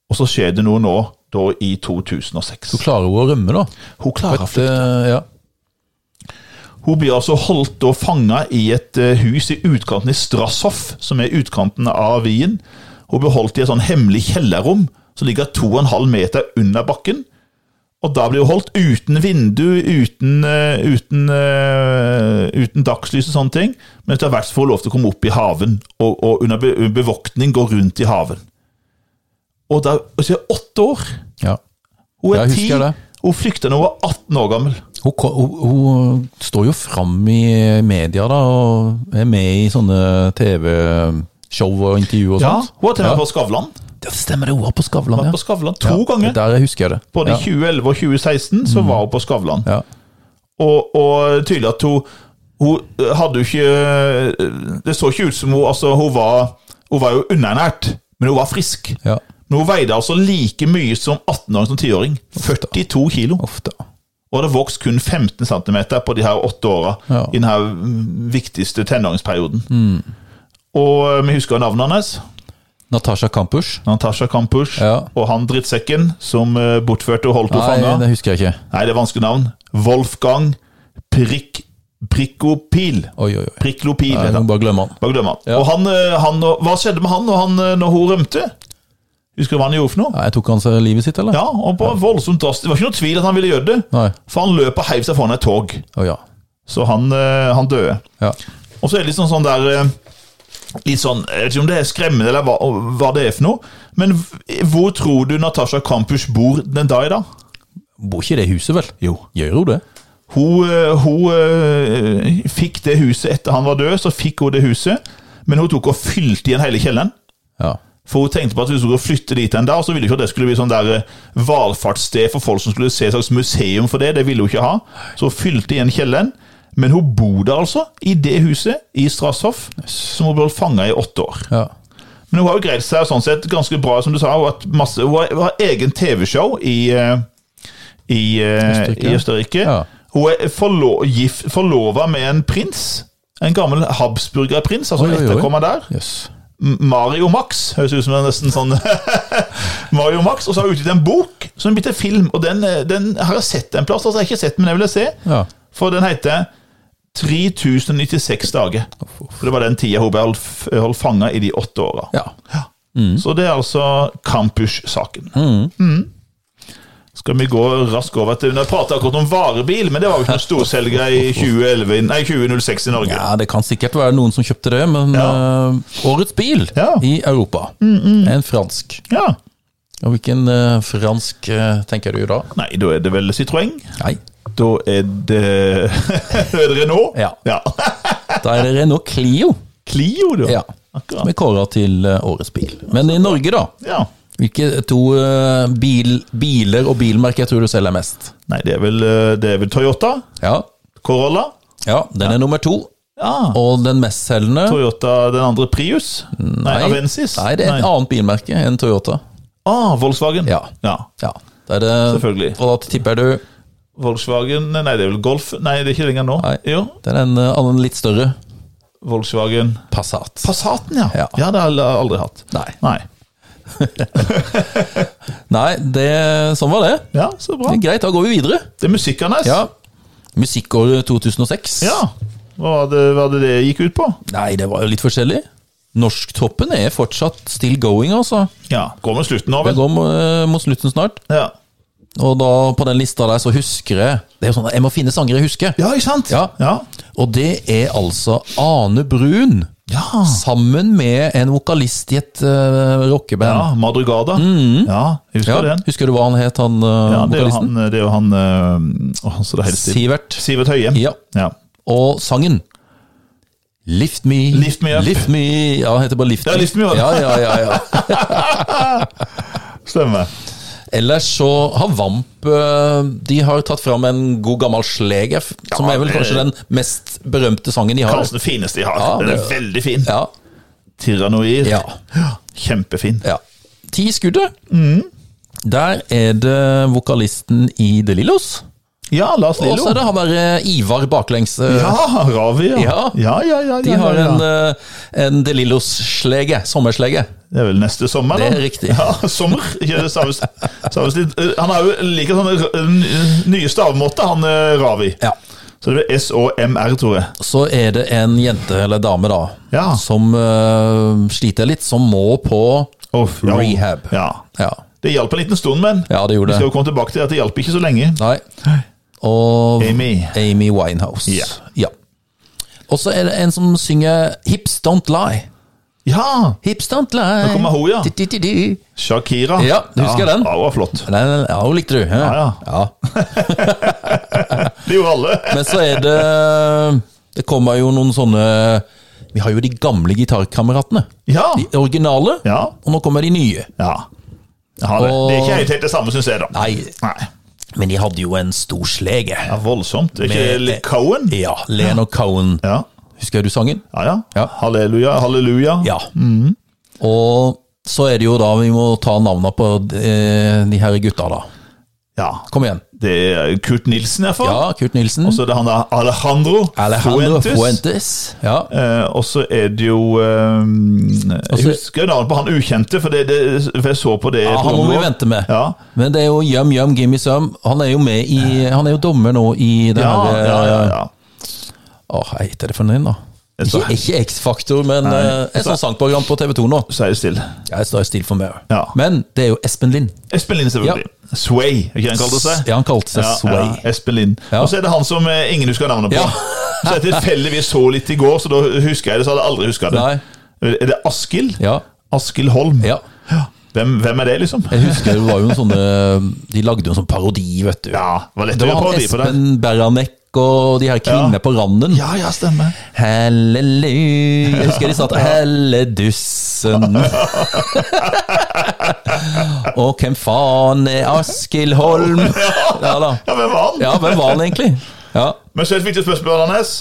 Og så skjer det noe nå, da i 2006. Så klarer hun å rømme, da. Hun klarer Det, ja. Hun blir altså holdt og fanga i et eh, hus i utkanten i Strasshoff, som er utkanten av Wien. Hun ble holdt i et sånn hemmelig kjellerrom som ligger 2,5 meter under bakken. Og da blir hun holdt uten vindu, uten, eh, uten, eh, uten dagslys og sånne ting. Men etter hvert får hun lov til å komme opp i haven, og, og under be- bevoktning gå rundt i haven. Og da, og så er hun åtte år. ja. Hun Ja, er jeg ti, husker det. Hun flykta da hun var 18 år gammel. Hun, ko- hun, hun står jo fram i media da, og er med i sånne TV-show og intervjuer og Ja, sånt. Hun var til og med Ja. på Skavlan. Det stemmer, det, hun var på Skavlan. Var Ja. på Skavlan to ganger. Der husker jeg det. Både i ja. 2011 og 2016 Mm. så var hun på Skavlan. Ja. Og, og tydelig at hun, hun eh, hadde jo ikke eh, Det så ikke ut som hun Altså, hun var, hun var jo underernært, men hun var frisk. Ja. Men hun veide altså like mye som 18-åring som 10-åring. 42 kilo. Ofte. Og hadde vokst kun 15 cm på de her åtte åra Ja. Mm. i den her mm, viktigste tenåringsperioden. Og eh, vi husker navnet hans. Natasha Kampusch. Natasha Kampusch Ja. og han drittsekken som eh, bortførte og holdt henne Nei, fanga. det husker jeg ikke. Nei, det er vanskelig navn. Wolfgang Prik, Prikopil. Oi, oi, oi. Priklopil Nei, heter jeg han. må bare glemme han. Bare glem han. Ja. Og han, eh, han, hva skjedde med han når, han eh, når hun rømte? Husker du hva han gjorde for noe? Nei, tok han seg livet sitt, eller? Ja, og på voldsomt drastisk. Det var ikke noe tvil at han ville gjøre det, Nei. for han løp og heiv seg foran et tog. Å ja. Så han, eh, han døde. ja. Og så er det litt sånn, sånn der eh, Litt sånn, Jeg vet ikke om det er skremmende, eller hva, hva det er for noe, men v- hvor tror du Natasha Kampusch bor den dag i dag? Bor ikke i det huset, vel? Jo. Gjør hun det? Hun, eh, hun eh, fikk det huset etter han var død, så fikk hun det huset, men hun tok og fylte igjen hele kjelleren. Ja. For hun tenkte på at hvis hun skulle flytte dit en dag, så ville hun ikke at det skulle bli sånn der eh, valfartssted for folk som skulle se et slags museum for det. Det ville hun ikke ha. Så hun fylte igjen kjelleren. Men hun bor der altså, i det huset i Strasshoff, som hun ble holdt fanga i åtte år. ja. Men hun har jo greid seg sånn sett ganske bra, som du sa. Hun har, hatt masse, hun har, hun har egen TV-show i, eh, i, eh, Østerrike. i Østerrike. Ja. Hun er forlo, gift- forlova med en prins. En gammel Habsburger-prins, altså Oi, oi, oi. etterkommer der. Jøs. M- Mario Max. Høres ut som det er nesten sånn Mario Max. Og så har hun utgitt en bok som er blitt til film, og den, eh, den har jeg sett en plass. Altså, jeg har ikke sett den, men jeg ville se. Ja. For den heter 3096 dager. For det var den tida hun ble holdt, f- holdt fanga i de åtte åra. ja. Mm. Så det er altså Campus-saken. Mm. Skal vi gå raskt over til Jeg pratet akkurat om varebil, men det var jo ikke noen storselgere i 2011, nei, 2006 i Norge. Ja, det kan sikkert være noen som kjøpte det, men Ja. eh, årets bil Ja. Mm, i Europa er en fransk. Ja. Og hvilken eh, fransk eh, tenker du da? Nei, da er det vel Citroën. Nei, Da er det Da er det Renault? Ja. da er det Renault Clio. Clio, da. Ja. Som Akkurat. er kåra til eh, årets bil. Men i Norge, da? Ja. Hvilke to eh, bil, biler og bilmerker tror du selger mest? Nei, det er vel, eh, det er vel Toyota. Ja, Corolla. ja den er nummer to. Ja. Og den mestselgende Toyota den andre Prius? Nei, Avensis? Nei, det er et annet bilmerke enn Toyota. Ah, Volkswagen. Ja. Ja, det er det. Selvfølgelig. Og da tipper jeg du Volkswagen Nei, det er vel Golf? Nei, det er ikke lenger nå. Nei. Jo. Det er en eh, annen litt større Volkswagen Passat. Passaten, ja. Ja. det har jeg aldri hatt. Nei. Nei. Nei, det, sånn var det. Ja, så bra. det er greit, da går vi videre. Det er musikk hans. Ja. Musikkåret 2006. ja. Hva var det hva var det, det gikk ut på? Nei, det var jo litt forskjellig. Norsktoppen er fortsatt still going, altså. Ja. Går med slutten nå, Det vel? går eh, mot slutten snart. Ja. Og da på den lista der så husker jeg Det er jo sånn at jeg må finne sanger jeg husker. ja, ikke sant? Ja. Ja. Og det er altså Ane Brun ja. sammen med en vokalist i et eh, rockeband. Ja, Madrugada. Ja, jeg husker Mhm. Ja, den. Husker du hva han het, han eh, Ja, det er jo vokalisten? han, det er jo han øh, åh, så det hele tiden. Sivert. Sivert Høie. Ja. Og sangen Lift me, Lift me up. Lift me Ja, han heter bare Lift Ja, Lift Me Up. Ja, ja, ja, ja. Stemmer. Ellers så har Vamp eh, De har tatt fram en god gammel sleger, som er vel kanskje den mest berømte sangen de har. Kanskje det fineste de har. Ja, den er det- veldig fin. Ja, Tyrannoid. ja, Kjempefin. ja. Ti skuddet. Der er det vokalisten i The Lillos. Ja, Lars Og så Lillo. er det han der eh, Ivar baklengs. eh, Ja, Ravi. Ja, Ja. ja, ja. ja, ja, De har ja, ja. en, eh, en De Lillos-slege. Sommerslege. Det er vel neste sommer, da? Det er riktig. Ja, sommer. Ikke det samme- samme stil. Eh, Han har jo like sånne r- n- nye stavmåter, han eh, Ravi. Ja. Så det blir SOMR, tror jeg. Så er det en jente eller dame da Ja. som eh, sliter litt, som må på ja. rehab. Ja. Ja. Det hjalp en liten stund, men ja, det Vi gjorde skal det. jo komme tilbake til at det hjalp ikke så lenge. Nei. Og Amy. Amy Winehouse. Ja. Ja. Og så er det en som synger 'Hips Don't Lie'. Ja! Hipstant line. Nå kommer hun, ja. Di-di-di-di. Shakira. Ja, du husker den? Ja, hun var flott. Den, ja, hun likte du. Ja. ja. Det gjorde alle. Men så er det Det kommer jo noen sånne Vi har jo de gamle gitarkameratene. Ja. De originale, Ja. og nå kommer de nye. ja. Jeg har det. det er ikke helt, helt det samme, syns jeg, da. Nei, Nei. men de hadde jo en storslege. Ja, voldsomt. Er ikke Med- Lick Cohen? Ja, Leno Cohen. Ja. Husker du sangen? Ja, ja. Ja. Halleluja, halleluja. Ja. Mm. Og så er det jo da vi må ta navna på eh, de, de her gutta, da. Ja. Kom igjen. Det er Kurt Nilsen, iallfall. Ja. Ja, Kurt Nilsen. Så er det han der Alejandro, Alejandro Fuentes. Ja. Eh, og så er det jo eh, Jeg så- husker navnet på han ukjente, for, det, det, for jeg så på det. ja, han må vi vente med. Ja. Men det er jo Yum Yum Gimme Some. Han er jo med i Han er jo dommer nå i det Ja, her ja, ja, ja. Å, hva heter det for noe, da? Jeg Ikke, sa- ikke X-Faktor, men eh, et sånt sangprogram på TV 2 nå. Så er det stille. Jeg står stille for meg. Ja. Men det er jo Espen Lind. Espen Lind, selvfølgelig. Sway, er ikke det han kalte seg? Ja, han kalte seg Ja, Sway. ja, Espen Lind. Ja. Og så er det han som eh, ingen husker navnet på. Ja. så jeg tilfeldigvis så litt i går, så da husker jeg det. Så hadde jeg aldri huska det. Nei. Er det Askild? Ja. Askild Holm. ja. Hvem, hvem er det, liksom? Jeg husker det var jo en sånne De lagde jo en sånn parodi, vet du. Ja, det var lett Det å gjøre var han parodi på det. Espen Beranek og de her kvinnene på randen. Ja, ja, stemmer. Halleluja Jeg husker de satt Helledussen. og hvem faen er Askild Holm? Ja da. Ja, hvem var han? Ja, hvem var han egentlig? Ja. Men så er det et viktig spørsmål, Anders.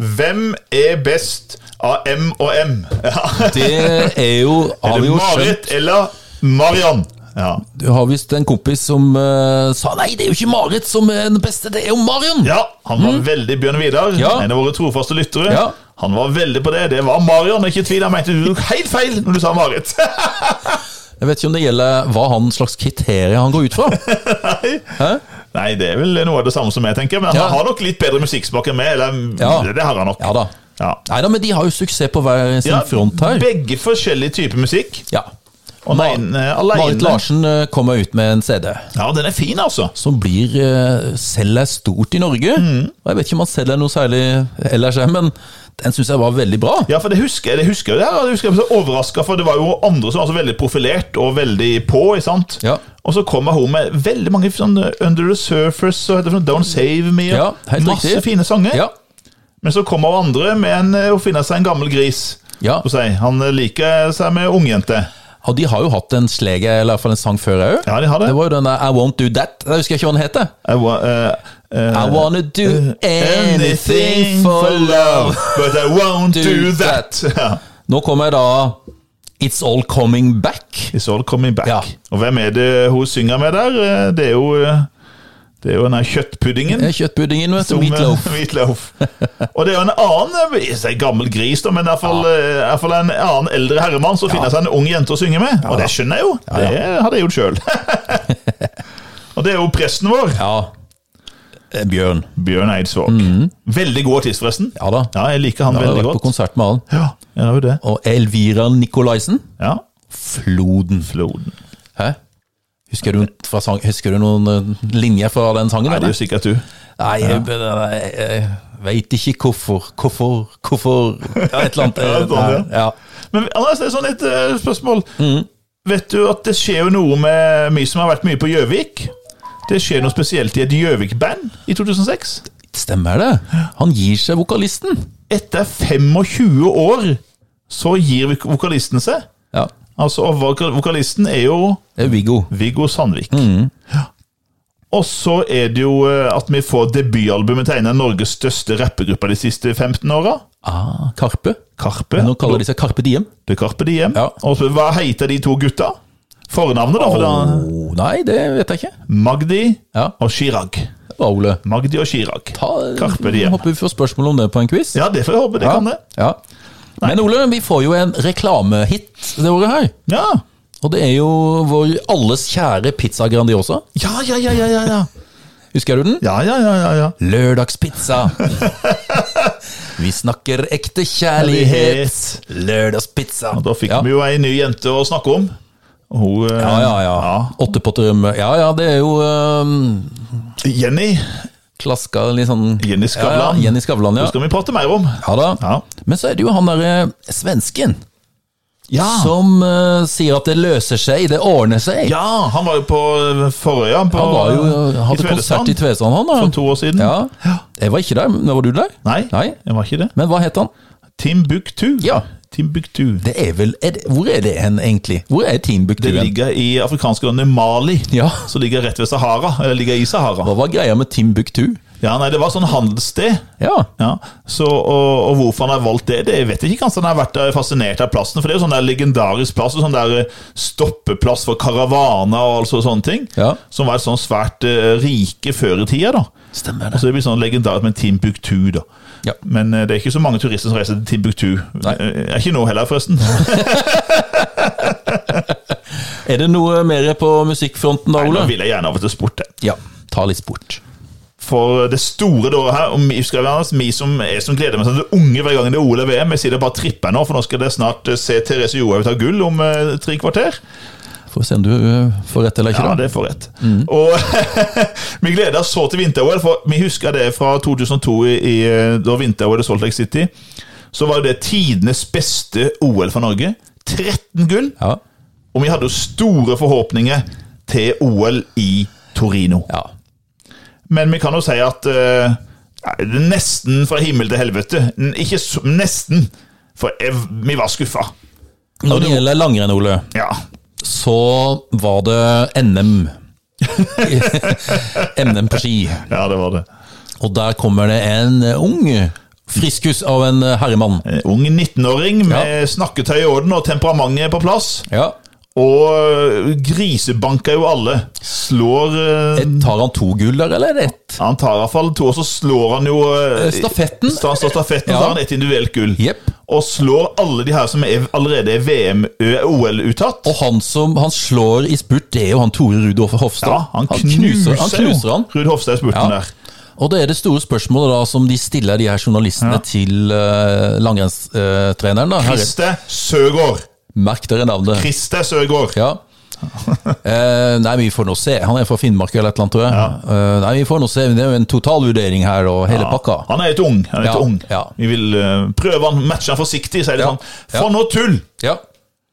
Hvem er best av M og M? Ja. Det er jo Er Har vi det jo skjønt Marit eller Marian? Ja. Du har visst en kompis som eh, sa Nei, det er jo ikke Marit som er den beste, det er jo Marion! ja, han var veldig Bjørn Vidar. Mm. Ja. En av våre trofaste lyttere. Ja. Han var veldig på det. Det var Marian. Ikke tvil, han mente du tok helt feil når du sa Marit. Jeg vet ikke om det gjelder hva han slags kriterier han går ut fra. Hæ? Nei, det er vel noe av det samme som jeg tenker. Men han Ja. har nok litt bedre musikksmak enn meg. Eller, Ja. Det har han nok. Ja da. Ja. Nei da, men de har jo suksess på hver sin Ja, front her. Begge forskjellige typer musikk. Ja. Og den ene er alene. Marit Larsen eh, kommer ut med en CD Ja, den er fin, altså. som blir eh, selger stort i Norge. Og Jeg vet ikke om han selger noe særlig ellers, eh, men den syns jeg var veldig bra. Ja, for det husker jeg. Det husker jeg, det her, det husker jeg ble så overraska, for det var jo andre som var så veldig profilert og veldig på. ikke sant? Ja. Og så kommer hun med veldig mange sånne Under the Surface og heter det for noe Don't Save Me. og Ja, helt masse riktig. fine sanger. Ja. Men så kommer hun andre med en, eh, og finner seg en gammel gris. Ja. Og sier, Han eh, liker seg med ungjente. Og de har jo hatt en slege, eller i hvert fall en sang før òg. Ja, de har det. Det var jo den der I Won't Do That. Jeg husker ikke hva den heter. I wa- eh, eh, I wanna do anything for love. but I won't do, Do that. Ja. Nå kommer da It's All Coming Back. It's all coming back. Ja. Og hvem er det hun synger med der? Eh, Det er jo, eh, det er jo den her kjøttpuddingen. Det er Kjøttpuddingen, vet du. Mm. Som, eh, Eh, Meatloaf. Meatloaf. Og det er jo en annen eh, jeg sier gammel gris, da, men i hvert fall, eh, i hvert fall en annen eldre herremann som finner seg en ung jente å synge med. Og det skjønner jeg jo. Det hadde jeg gjort sjøl. Og det er jo presten vår, Ja. Eh, Bjørn. Bjørn Eidsvåg. Veldig god artist, forresten. Mhm. Ja da. Ja, jeg liker han Jeg har veldig vært på godt. konsert med han. Ja, jeg har jo det. Og Elvira Nikolaisen. Ja. Floden. Floden. Hæ? Husker du, fra sang, husker du noen eh, linjer fra den sangen? Nei, det eller? er jo sikkert du. Nei, jeg, jeg, jeg veit ikke hvorfor. Hvorfor, hvorfor ja, Et eller annet. eh, Ja, sånn, der. ja. Men Anders, det er sånn et eh, spørsmål. Vet du at det skjer jo noe med vi som har vært mye på Gjøvik? Det skjer noe spesielt i et Gjøvik-band i 2006. Stemmer det? Han gir seg vokalisten. Etter 25 år så gir vok- vokalisten seg. Ja, Altså, og vokal- vokalisten er jo det er Viggo. Viggo Sandvik. Ja. Og så er det jo eh, at vi får debutalbumet til en av Norges største rappegrupper de siste 15 åra. Ah, Karpe. Karpe. Nå kaller de seg Karpe Diem. Det er Karpe Diem. Ja. Og så, hva heter de to gutta? Fornavnet, da? For da Åh, nei, det vet jeg ikke. Magdi Ja. og Chirag. Det var Ole. Magdi og Chirag. Ta, Carpe Diem. Håper vi får spørsmål om det på en quiz. Ja, det får jeg håpe. Det kan det. Ja. Men Ole, vi får jo en reklamehit det året her. Ja. Og det er jo vår alles kjære Pizza Grandiosa. Ja, ja, ja, ja, ja, ja. Husker du den? Ja, ja, ja, ja, ja. Lørdagspizza. Vi snakker ekte kjærlighet. Lørdagspizza. Og da fikk Ja. vi jo ei ny jente å snakke om. Og Hun, eh, Ja, ja, ja. Åttepotter rømme. Ja, ja, det er jo øhm, Jenny. klaska litt sånn Jenny Ja, Skavlan. ja, Jenny Skavlan, Hun ja. skal vi prate mer om. ja da. Ja. Men så er det jo han derre svensken. Ja. som eh, sier at det løser seg, det ordner seg. Ah. ja, han var jo på Forøya. På, Han var jo, eh, hadde i konsert i Tvedestrand Tvedestrand, han. da. for to år siden. Ja. Jeg var ikke der, men var du der? Nei, Nei. det var ikke det. Men hva het han? Timbuktu. Ja. Timbuktu. Det er vel er det, Hvor er det hen, egentlig? Hvor er Timbuktu? Det hen? ligger i afrikanske landet Mali, Ja. som ligger rett ved Sahara. Eller ligger i Sahara. Hva var greia med Timbuktu? Ja, nei, Det var sånn handelssted. Ja. Ja, så, og, og hvorfor han har valgt det, det vet jeg ikke. Kanskje han har vært der fascinert av plassen. For det er jo sånn der legendarisk plass, og sånn der eh, stoppeplass for karavaner og altså sånne ting. Ja. Som var sånn svært eh, rike før i tida, da. Stemmer Og så det blir sånn legendarisk med Timbuktu, da. Ja. Men eh, det er ikke så mange turister som reiser til Timbuktu. Nei. Eh, Er ikke nå heller, forresten. Er det noe mer på musikkfronten da, Nei, nå Ole? vil jeg gjerne over til sport, jeg. Ja. Ta litt sport. For det store da her, og vi, skal være, vi som er som gleder meg til det unge hver gang det er OL og VM Jeg sier det bare tripper nå, for nå skal det snart eh, se Therese Johaug ta gull om eh, tre kvarter. Får se om du eh, får rett eller ikke. Ja, da. det får rett. Og vi gleder oss så til vinter-OL, for vi husker det fra 2002, i, i, eh, da vinter-OL i Salt Lake City. Så var jo det tidenes beste OL for Norge. 13 gull, Ja. og vi hadde jo store forhåpninger til OL i Torino. ja. Men vi kan jo si at eh, det er nesten fra himmel til helvete. N- Ikke så, nesten, for jeg, vi var skuffa. Når det gjelder langrenn, Ole, Ja. så var det NM. NM på ski. ja, det var det. Og der kommer det en ung friskus av en herremann. En ung 19-åring med snakketøy i orden og temperamentet på plass. Ja. Og eh, grisebanker jo alle. Slår eh, Tar han to gull der, eller er det ett? Han tar iallfall to, og så slår han jo eh, Stafetten. sta- sta- stafetten Ja. så har han et individuelt gull. Jepp. Og slår alle de her som er, allerede er eh, VM-OL-uttatt. Og han som han slår i spurt, det er jo han Tore Rudolf Hofstad. Ja, han knuser, han knuser han. jo Ruud Hofstad i spurten Ja. der. Og det er det store spørsmålet da som de stiller de her journalistene til uh, langrennstreneren. da. Herre, Christer Søgaard. merk dere navnet. Christer Søgaard. Ja. Eh, nei, vi får nå se. Han er fra Finnmark eller et eller annet, tror jeg. Eh, nei, vi får nå se. Det er jo en totalvurdering her og hele pakka. Han er et ung. Han er et Ja, ung. ja. Vi vil eh, prøve han, matche han forsiktig, sier de Ja, sånn. For noe tull! Ja.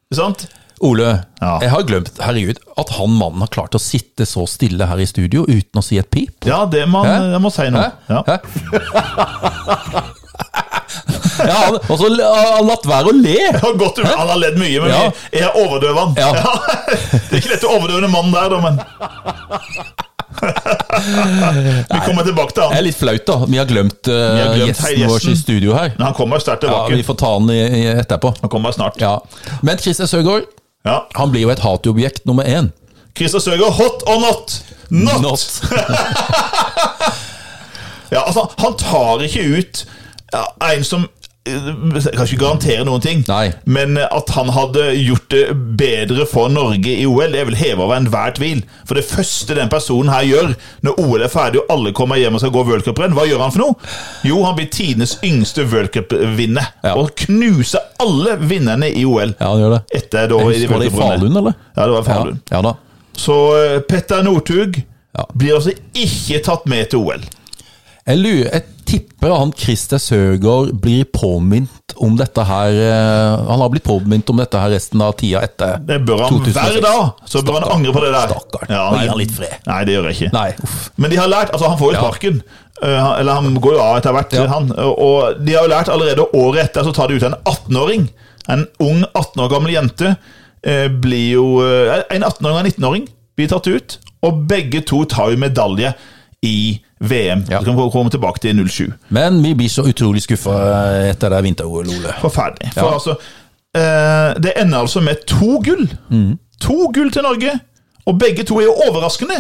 Ikke sant? Ole, Ja. jeg har glemt herregud, at han mannen har klart å sitte så stille her i studio uten å si et pip. Ja, det man, Hæ? jeg må si Hæ? noe. Ja. Hæ? ja, han, og så l- har han latt være å le! Han har gått- han har ledd mye, men Ja. vi- jeg overdøver han. Ja. Det er ikke lett å overdøve den mannen der, da, men Vi kommer tilbake til Det han. er litt flaut, da. Vi har glemt, eh, har glemt gjesten, hei, vår gjesten. i studio her. Men han kommer sterkt Ja, tilbake. vi får ta den i, i etterpå. Han kommer snart. Ja. Men Christer Søgaard, Ja. han blir jo et hatobjekt nummer én. Christer Søgaard, hot or not? Not! Ja, altså, han tar ikke ut ja, en som eh, jeg kan ikke garantere noen ting, Nei. men eh, at han hadde gjort det bedre for Norge i OL, det er vel hevet over enhver tvil. For det første den personen her gjør når OL er ferdig og alle kommer hjem og skal gå worldcuprenn, hva gjør han for noe? Jo, han blir tidenes yngste worldcupvinner Ja. og knuser alle vinnerne i OL. Ja, han gjør det. Etter da i Husker du det i worldcuprundene. Falun, eller? Ja, det var i Falun. Ja, ja da. Så eh, Petter Northug Ja. blir altså ikke tatt med til OL. Jeg, lurer, jeg tipper han Christer Søgaard blir påminnet om dette her eh, Han har blitt påminnet om dette her resten av tida etter. Det bør han 2006. hver dag! Så bør han Stakkar. angre på det der. Stakkar. Nå gir han litt fred. Nei, det gjør jeg ikke. Nei, uff. Men de har lært Altså, han får jo Ja. sparken. Eh, han- Eller han går jo av etter hvert, Ja. han. Og de har jo lært allerede året etter, så tar de ut en 18-åring. En ung 18 år gammel jente eh, blir jo eh, En 18-åring og en 19-åring blir tatt ut, og begge to tar jo medalje i VM. Ja. Så kan vi komme tilbake til 07. Men vi blir så utrolig skuffa etter det vinter-OL, Ole. Forferdelig. For Ja. altså, eh, det ender altså med to gull. Mm. To gull til Norge, og begge to er jo overraskende.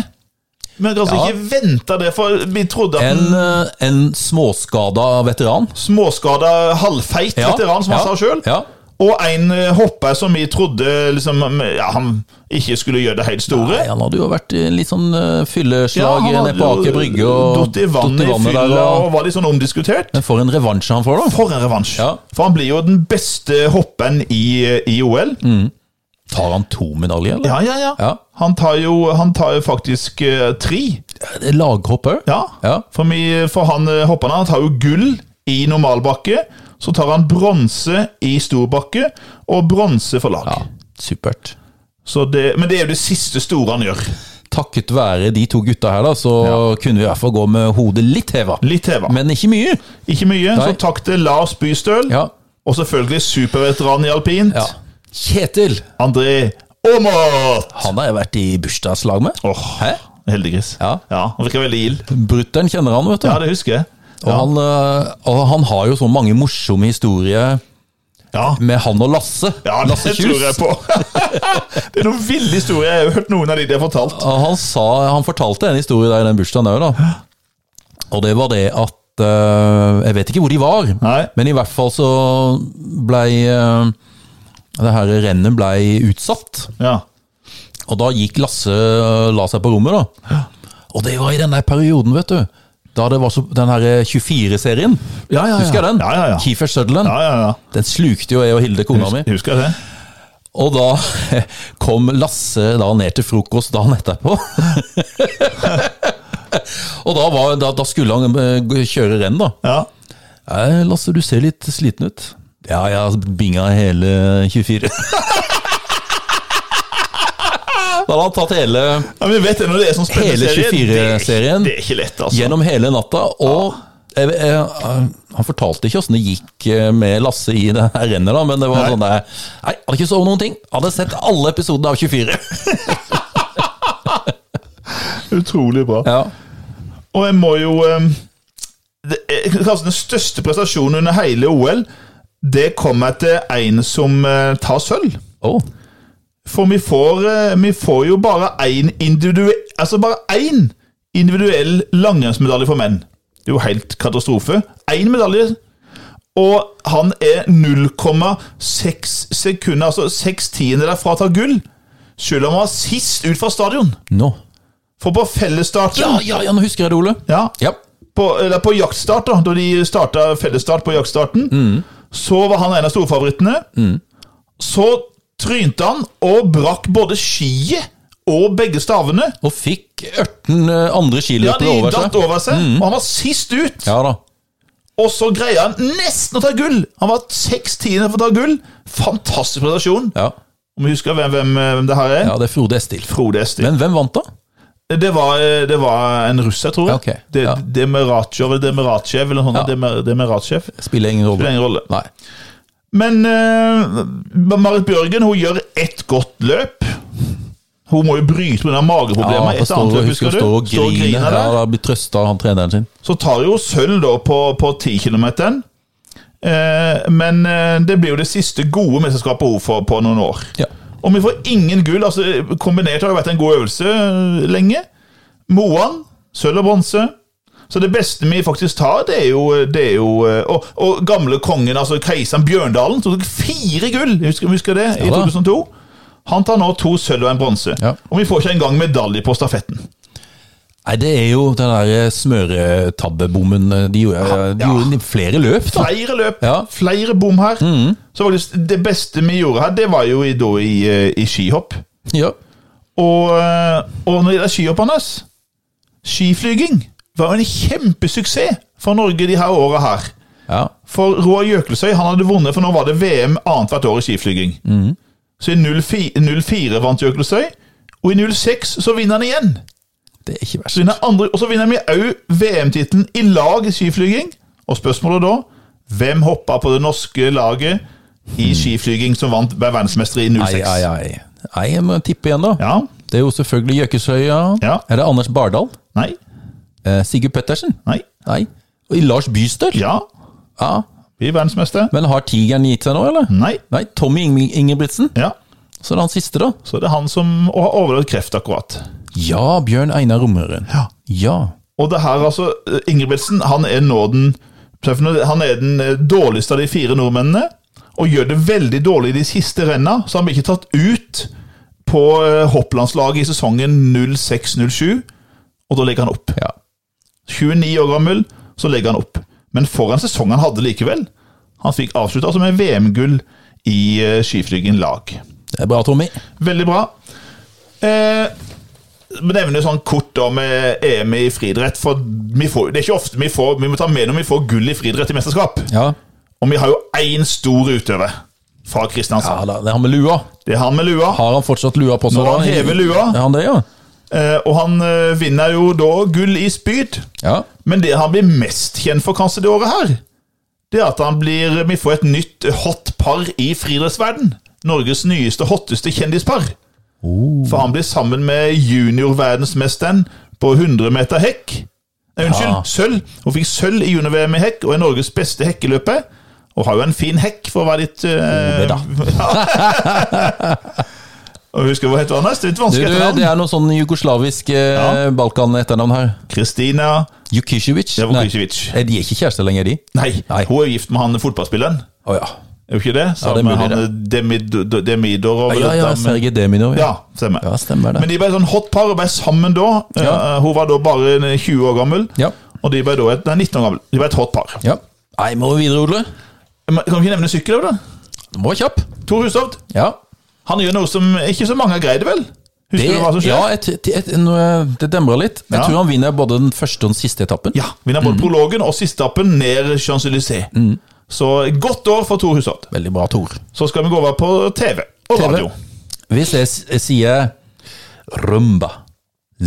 Men jeg har altså Ja. ikke venta det, for vi trodde at En, en eh, en småskada veteran. småskada, halvfeit Ja, veteran, som han ja, sa sjøl, ja. og en eh, hopper som vi trodde liksom, ja, han ikke skulle gjøre det helt store. Nei, han hadde jo vært i en litt sånn eh, Ja, fylleslag han nede på hadde Aker jo Brygge. og datt i vannet i vannet fylla der, og- og var litt sånn omdiskutert. Men for en revansj han får, da. For en revansj. Ja. For han blir jo den beste hopperen i, eh, i OL. Tar han to medaljer, eller? Ja, ja, ja. Ja. Han, tar jo, han tar jo faktisk eh, tre. Det er Laghopp òg? Ja. Ja. For, mi, for han eh, hopperen han tar jo gull i normalbakke. så tar han bronse i storbakke og bronse for lag. Ja, supert. Så det, men det er jo det siste store han gjør. Takket være de to gutta her, da, så kunne vi i hvert fall gå med hodet litt heva. Litt heva. Men ikke mye. Ikke mye, Nei. så takk til Lars Bystøl. Ja. Og selvfølgelig superveteranen i alpint, ja. Kjetil! André Aamodt! Han har jeg vært i bursdagslag med. Åh, Hæ? heldiggris. Ja. Han virker veldig gild. Brutter'n kjenner han, vet du. Ja, det husker jeg. Og, han, øh, og han har jo så mange morsomme historier Ja, med han og Lasse. ja det Lasse tror jeg på. det er noen ville historier. Jeg har jo hørt noen av de de har fortalt. Og han, sa, han fortalte en historie der i den bursdagen òg, da. Og det var det at øh, Jeg vet ikke hvor de var, Nei. men i hvert fall så blei øh, det her rennet blei utsatt. Ja. Og da gikk Lasse øh, la seg på rommet, da. Og det var i den der perioden, vet du. Da det var så, den her 24-serien. Ja, ja, ja. Husker jeg den? Ja, ja, ja. Kiefer Sutherland. Ja, ja, ja. Den slukte jo jeg og Hilde, kona mi. Husker, husker jeg det? Og da kom Lasse da ned til frokost dagen etterpå. og da, var, da, da skulle han eh, gå- kjøre renn, da. Ja. «Nei, Lasse, du ser litt sliten ut. Ja, jeg har binga hele 24. da hadde han tatt hele ja men vet du, når det er sånn spennende Hele serie, det er ikke- 24-serien. Det er ikke lett, altså. gjennom hele natta, og jeg, jeg, eh, han fortalte ikke åssen det gikk eh, med Lasse i det her rennet, da, men det var Nei. sånn der Nei, hadde ikke sovet noen ting. Hadde sett alle episodene av 24. Utrolig bra. Ja. Og jeg må jo eh, det, eh, kanskje Den største prestasjonen under hele OL, det kommer til en som eh, tar sølv. Oh. For vi får, eh, vi får jo bare én individuell Altså bare én individuell langrennsmedalje for menn. Det er jo helt katastrofe. Én medalje. Og han er 0,6 sekunder, altså seks tiendedeler fra å ta gull. Selv om han var sist ut fra stadion. Nå. For på fellesstarten Ja, ja, ja, nå husker jeg det, Ole. Ja, Ja. på, eller på jaktstart, da, da de starta fellesstart på jaktstarten, Mm. så var han en av storfavorittene. Så trynte han og brakk både skiet og begge stavene. Og fikk ørten eh, andre Ja, skiløpere de over datt seg. Mm. over seg, og han var sist ut. Ja da. Og så greia han nesten å ta gull! Han var seks tiende for å ta gull. Fantastisk prestasjon. Ja. Om vi husker hvem, hvem, hvem det her er? ja, det er Frode Estil. Frode Estil. Men hvem vant, da? Det var, eh, det var en russer, tror jeg. Ok, Det, ja. Demiratjev eller Demiratjev eller noe sånt. Ja. Demer- Demiratjev. Spiller ingen rolle. Spiller ingen rolle. Nei. Men eh, Marit Bjørgen hun gjør ett godt løp. Hun må jo bryte pga. mageproblemer. Ja, Et står, annet løp, husker husker du? du? Står og Står griner. Ja, der. da blir trøsta av han treneren sin. Så tar jo sølv da på, på 10 km. men eh, det blir jo det siste gode mesterskapet hun får på noen år. Ja. Og vi får ingen gull. altså Kombinert har det vært en god øvelse eh, lenge. Moan, sølv og bronse. Så det beste vi faktisk tar, det er jo, det er jo eh, og, og gamle kongen, altså keiseren Bjørndalen, som tok fire gull husker, husker det, i Ja da. 2002. Han tar nå to sølv og en bronse. Ja. Og vi får ikke engang medalje på stafetten. Nei, det er jo den der eh, smøretabbebommen. eh, De gjorde, de Ja. gjorde flere løp, da. Flere løp, Ja. Mhm. flere bom her. Så faktisk det beste vi gjorde her, det var jo i, da i, eh, i skihopp. Ja. Og, eh, og når det gjelder skihopp, Anders Skiflyging var jo en kjempesuksess for Norge de her åra her. ja. For Roar Jøkelsøy han hadde vunnet, for nå var det VM annethvert år i skiflyging. Mhm. Så i 04, 04 vant Jøkelsøy, og i 06 så vinner han igjen. Det er ikke verst. Så vinner andre, og så vinner vi òg VM-tittelen i lag i skiflyging. Og spørsmålet da hvem hoppa på det norske laget i skiflyging som vant verdensmester i Ai, 06? Mhm. ai, ai. Nei, jeg må tippe igjen, da. Ja? Det er jo selvfølgelig Gjøkesøya. Ja. Er det Anders Bardal? Nei? Eh, Sigurd Pettersen? Nei? Nei. Og Lars Bystøl? Ja? ja. Blir verdensmester? Men har tigeren gitt seg nå, eller? Nei? Nei, Tommy Inge Ingebrigtsen. Ja. Så er det han siste, da. Så det er han som har overlevd kreft, akkurat. Ja, Bjørn Einar Romøren. Ja. Ja. Og det her, altså eh, Ingebrigtsen han er nå den Han er den eh, dårligste av de fire nordmennene. Og gjør det veldig dårlig i de siste renna, så han blir ikke tatt ut på eh, hopplandslaget i sesongen 06-07. Og da legger han opp. Ja. 29 år gammel, så legger han opp. Men for en sesong han hadde likevel. Han fikk avslutta som en VM-gull i eh, skiflyging lag. Det er bra, Tommy. Veldig bra. Eh, vi nevner sånn kort om eh, EM i friidrett, for vi får, det er ikke ofte vi får Vi må ta med når vi får gull i friidrett i mesterskap. Ja. Og vi har jo én stor utøver fra Kristiansand. Ja, da, det er han med lua. Det er han med lua. Har han fortsatt lua på seg? Når da? han hever lua. Er han det, ja? Eh, Og han eh, vinner jo da gull i spyd. Ja. Men det han blir mest kjent for kanskje det året her, det er at han blir, vi får et nytt hot par i friluftsverden. Norges nyeste, hotteste kjendispar. Oh. For han blir sammen med junior-verdensmesteren på 100 meter hekk. Nei, unnskyld, Ja. sølv. Hun fikk sølv i junior-VM i hekk og er Norges beste hekkeløper. Og har jo en fin hekk, for å være litt eh, da. ja. Og husker hva heter han? Det er litt Du, vanskelig du, etternavn. det er noe sånn jugoslavisk eh, Balkan-etternavn her. Kristina Jukisjevic. Javrokicevic. Nei, Eh, De er ikke kjærester lenger, de? Nei, Nei. hun er gift med han fotballspilleren. Å ja. Er jo ikke det? det er Sammen mulig, med han eh, Demid- Demidorov. Ja, eller ja, dette, men- Sergej Deminov. ja, stemmer. Ja, stemmer det. Men de ble sånn hot par og ble sammen da. Ja. Eh, hun var da bare en 20 år gammel, Ja. og de ble da et, nei, 19 år gammel. De ble et hot par. ja. Nei, må vi videre, Ole? Men Kan vi ikke nevne sykkel da? Du Må være kjapp. Tor Hushovd. Ja. Han gjør noe som ikke så mange har greid, vel? Husker Det, du hva som skjer? ja, et, et, et, nå, eh, det demrer litt. Jeg Ja. tror han vinner både den første og den siste etappen. Ja, Vinner Mm. både prologen og sisteappen ned Champs-Élysées. Så godt år for Tor Hushovd. Veldig bra, Tor. Så skal vi gå over på TV og TV. radio. Hvis jeg s- jeg sier rumba,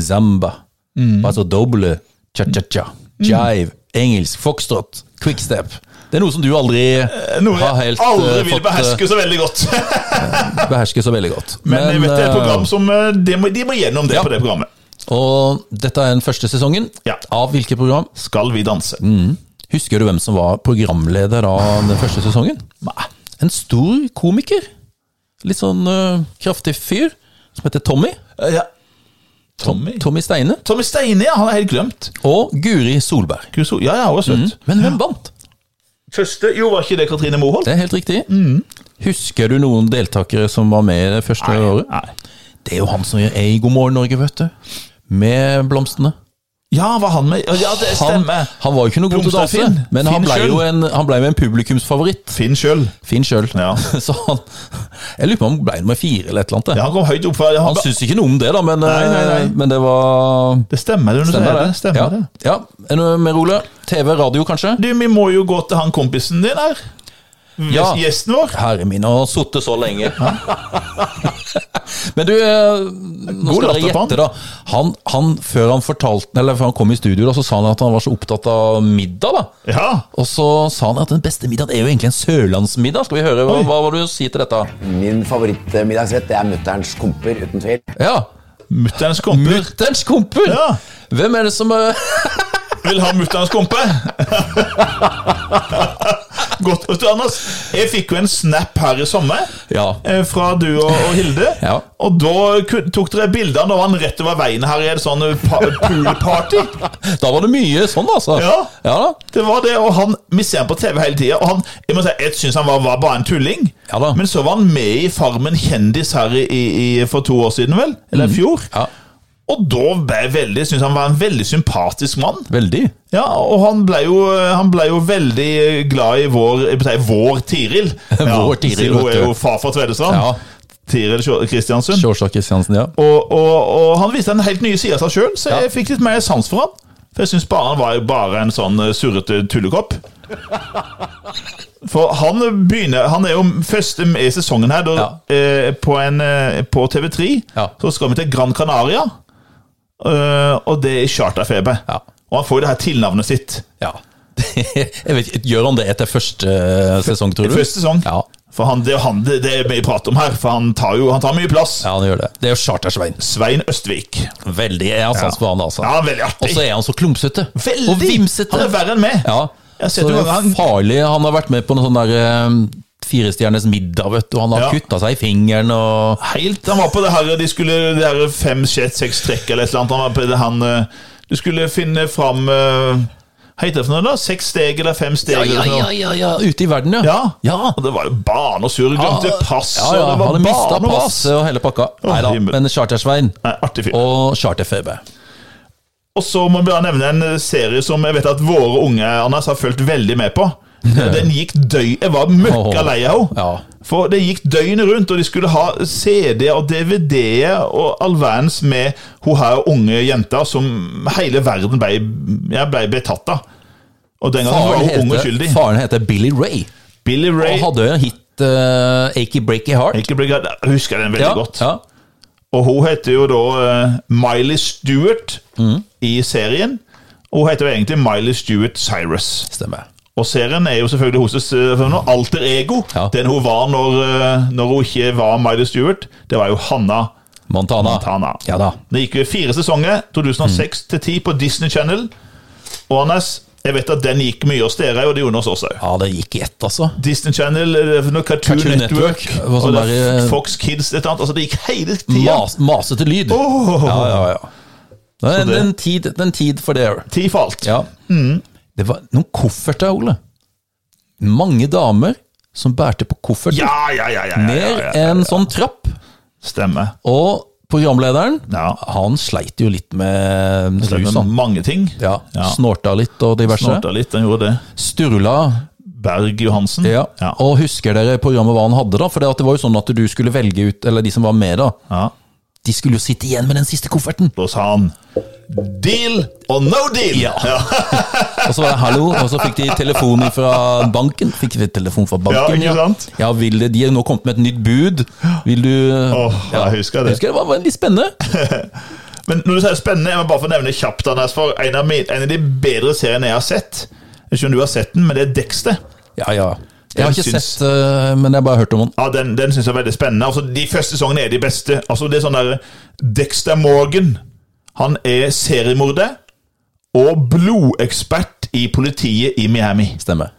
zamba, Mm. altså doble, cha-cha-cha, jive, engelsk, foxtrot, quickstep Det er noe som du aldri Noe jeg har helt eh, aldri vil fått, beherske så veldig godt. eh, beherske så veldig godt. Men, jeg vet det er et eh, program som eh, De må, de må gjennom det på det programmet. Og dette er den første sesongen. Ja. Av hvilket program? Skal vi danse? Mm. Husker du hvem som var programleder av den første sesongen? Nei. En stor komiker. Litt sånn eh, kraftig fyr. Som heter Tommy. Eh, Ja. Tommy Tommy Steine. Tommy Steine, ja. Han er helt glemt. Og Guri Solberg. Kuso. Ja, ja, hun er søt. Men hvem vant? Første Jo, var ikke det Katrine Moholt? Det er helt riktig. Husker du noen deltakere som var med det første året? Mm. Nei. Det er jo han som er i God morgen Norge, vet du. Med blomstene. Ja, var han med? Ja, det Han, stemmer. han var jo ikke noe god til å Blomster danse, Finn. men han Finn ble selv. jo en, han ble jo en publikumsfavoritt. Finn sjøl. Finn sjøl. Ja. Så han Jeg lurer på om han ble nummer fire eller et eller annet. Ja, han kom høyt opp fra han, Han syns ikke noe om det, da, men, eh, nei, nei. men det var Det stemmer, det. du sier det. Stemmer ja. det. ja. Er det noe mer, Ole? TV, radio, kanskje? Du, vi må jo gå til han kompisen din her. Ja. Gjesten vår. Herre min, han har sittet så lenge. men du, eh, nå skal dere God latter på gjette, da. Han, han, før han fortalte, eller før han kom i studio, da, så sa han at han var så opptatt av middag. da. Ja. Og så sa han at den beste middagen er jo egentlig en sørlandsmiddag. Skal vi høre hva, hva, hva du sier til dette? Min favorittmiddagsrett det er mutterens komper, uten tvil. Ja. Mutterns kompe. Mutterns komper! Ja. Hvem er det som eh, Vil ha mutterns kompe? Godt. Vet du, Anders, jeg fikk jo en snap her i sommer Ja. eh, fra du og, og Hilde. Ja. Og da ku- tok dere bilder av han rett over veien her i et sånn eh, pa poolparty. Da var det mye sånn, altså. Ja. da. Det var det, og han, Vi ser ham på TV hele tida, og han, jeg må si, jeg syns han var, var bare en tulling. Ja da. Men så var han med i Farmen kjendis her i, i, i- for to år siden, vel? Eller i fjor. Mhm. Ja, Og da ble jeg veldig, synes han var en veldig sympatisk mann. veldig. Ja, og han ble jo, eh, han ble jo veldig eh, glad i vår, jeg vil si, vår Tiril. Ja, Vår Tiril, siden Hun vet du. er jo far fra Tvedestrand. Ja. Tiril Sjå- Kristiansund. Sjåsak Kristiansen, ja. Og, og, og han viste en helt ny side av seg sjøl, så jeg fikk litt mer sans for han. For jeg syns bare han var jo bare en sånn eh, surrete tullekopp. For han begynner Han er jo første i sesongen her. Da, eh, på, en, eh, på TV3 Ja. så skal vi til Gran Canaria, eh, og det er i charterfeber. Ja. Og han får jo det her tilnavnet sitt. ja. Jeg vet ikke, Gjør han det etter første eh, sesong, tror du? Første sesong. Ja. For han, det er jo han det, det er vi prater om her, for han tar jo han tar mye plass. ja, han gjør det. Det er jo Charter-Svein. Svein Østvik. Veldig. Jeg har sans for han, altså. Ja, veldig Og så artig. er han så klumsete. Veldig! Og vimsete. Han er verre enn meg. Ja. Jeg har Så sett det noen er ganger- farlig. Han har vært med på noen sånn der eh, Firestjerners middag, vet du. Han har Ja. kuttet kutta seg i fingeren og Helt, Han var på det her De skulle det her fem, sjett, seks trekk eller et eller annet. Han var på det han eh, Du skulle finne fram eh, Hva heter det for noe, da? Seks steg eller fem steg? eller noe. ja, ja. Ute i verden, ja. Ja. ja. Og det var jo barnesurr. Glemte pass, Ja, ja. og det Han var hadde mista barnepass. passet og hele pakka. Å, Nei da. himmel. Men Charter-Svein Nei, Artig fyr. og Charter-Feber. Og så må jeg bare nevne en serie som jeg vet at våre unge Anders, har fulgt veldig med på. Den gikk døy... Jeg var møkka lei av henne. Ja. For det gikk døgnet rundt, og de skulle ha CD og DVD-er og all verdens med hun her unge jenta som hele verden ble, jeg ble betatt av. Og den gangen var Faren hun ung og heter, skyldig. faren heter Billy Ray. Billy Ray Og hadde jo en hit, uh, Achy Breaky Heart. Ikke bli glad. Jeg husker den veldig Ja, godt. ja. Og hun heter jo da eh, Miley Stewart Mm. i serien. Og hun heter jo egentlig Miley Stewart Cyrus. Stemmer. Og serien er jo selvfølgelig hennes eh, for noe alter ego. Ja. Den hun var når, eh, når hun ikke var Miley Stewart, det var jo Hanna Montana. Montana. Ja da. Det gikk jo fire sesonger, Mm. 2006 til 10 på Disney Channel. Og Anders, jeg vet at den gikk mye hos dere, og det gjorde den hos oss òg. Ja, det gikk i ett, altså. Disney Channel, eh, for noe Cartoon, Cartoon Network, Network, hva som og det er, er eh, Fox Kids, et eller annet. Altså, det gikk hele tida. Mas, masete lyd. Åh. Ja, ja, ja. Det er det- Mm. en tid, det er en tid for det. Ti for alt. Ja. Det var noen kofferter, Ole. Mange damer som bærte på kofferter. Ja, ja, ja. ja, ja, Ned ja, ja. en sånn trapp. Stemmer. Og programlederen, Ja. han sleit jo litt med rus, Stemmer han. mange ting. Ja, Ja. Snorta litt og diverse. Snorta litt, den gjorde det. Sturla. Berg Johansen. Ja. Ja. Og husker dere programmet hva han hadde, da? For det, at det var jo sånn at du skulle velge ut, eller de som var med, da. Ja. De skulle jo sitte igjen med den siste kofferten. Da sa han deal or no deal! Ja. Og så var det hallo, og så fikk de telefon fra banken. Fikk vi telefon fra Ja, banken, ikke sant? Ja, vil det, De har nå kommet med et nytt bud. Vil du Åh, jeg husker det. Husker det var litt spennende. Men når du sier spennende, jeg må bare få nevne kjapt Anders, for en av, min, en av de bedre seriene jeg har sett. Jeg vet ikke om du har sett den, men det er Dexter. Ja, ja. Jeg har Jeg ikke syns- sett, eh, men jeg har bare hørt om den. Ja, Den, den syns jeg er veldig spennende. Altså, De første sesongene er de beste. Altså, det er sånn der Dexter Morgan. Han er seriemorder og blodekspert i politiet i Miami. Stemmer.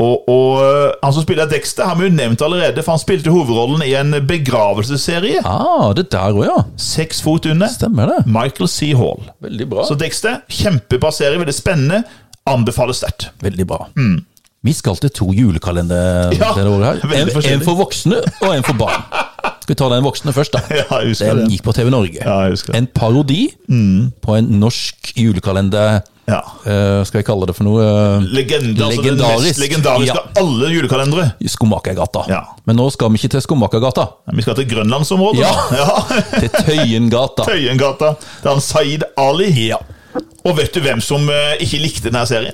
Og, og øh, han som spiller Dexter, har vi jo nevnt allerede, for han spilte hovedrollen i en begravelsesserie. Ah, det der òg, ja. Seks fot under. Stemmer det. Michael C. Hall. Veldig bra. Så Dexter, kjempebra serie, veldig spennende. Anbefales sterkt. Veldig bra. Vi skal til to julekalender Mm. Ja, dette året her. En, veldig forskjellig. en for voksne og en for barn. Skal vi ta den voksne først, da? Ja, jeg husker Den det. gikk på TV Norge. Ja, jeg husker det. En parodi på en norsk julekalender. Ja. Eh, skal jeg kalle det for noe? eh, Legende, altså den Legendarisk. mest legendariske Ja. av alle julekalendere. i Skomakergata. Ja. Men nå skal vi ikke til Skomakergata. Ja, Vi skal til Grønlandsområdet. Ja. da. ja. Til Tøyengata. Tøyengata. Det er han Saeed Ali. Ja. Og vet du hvem som eh, ikke likte denne serien?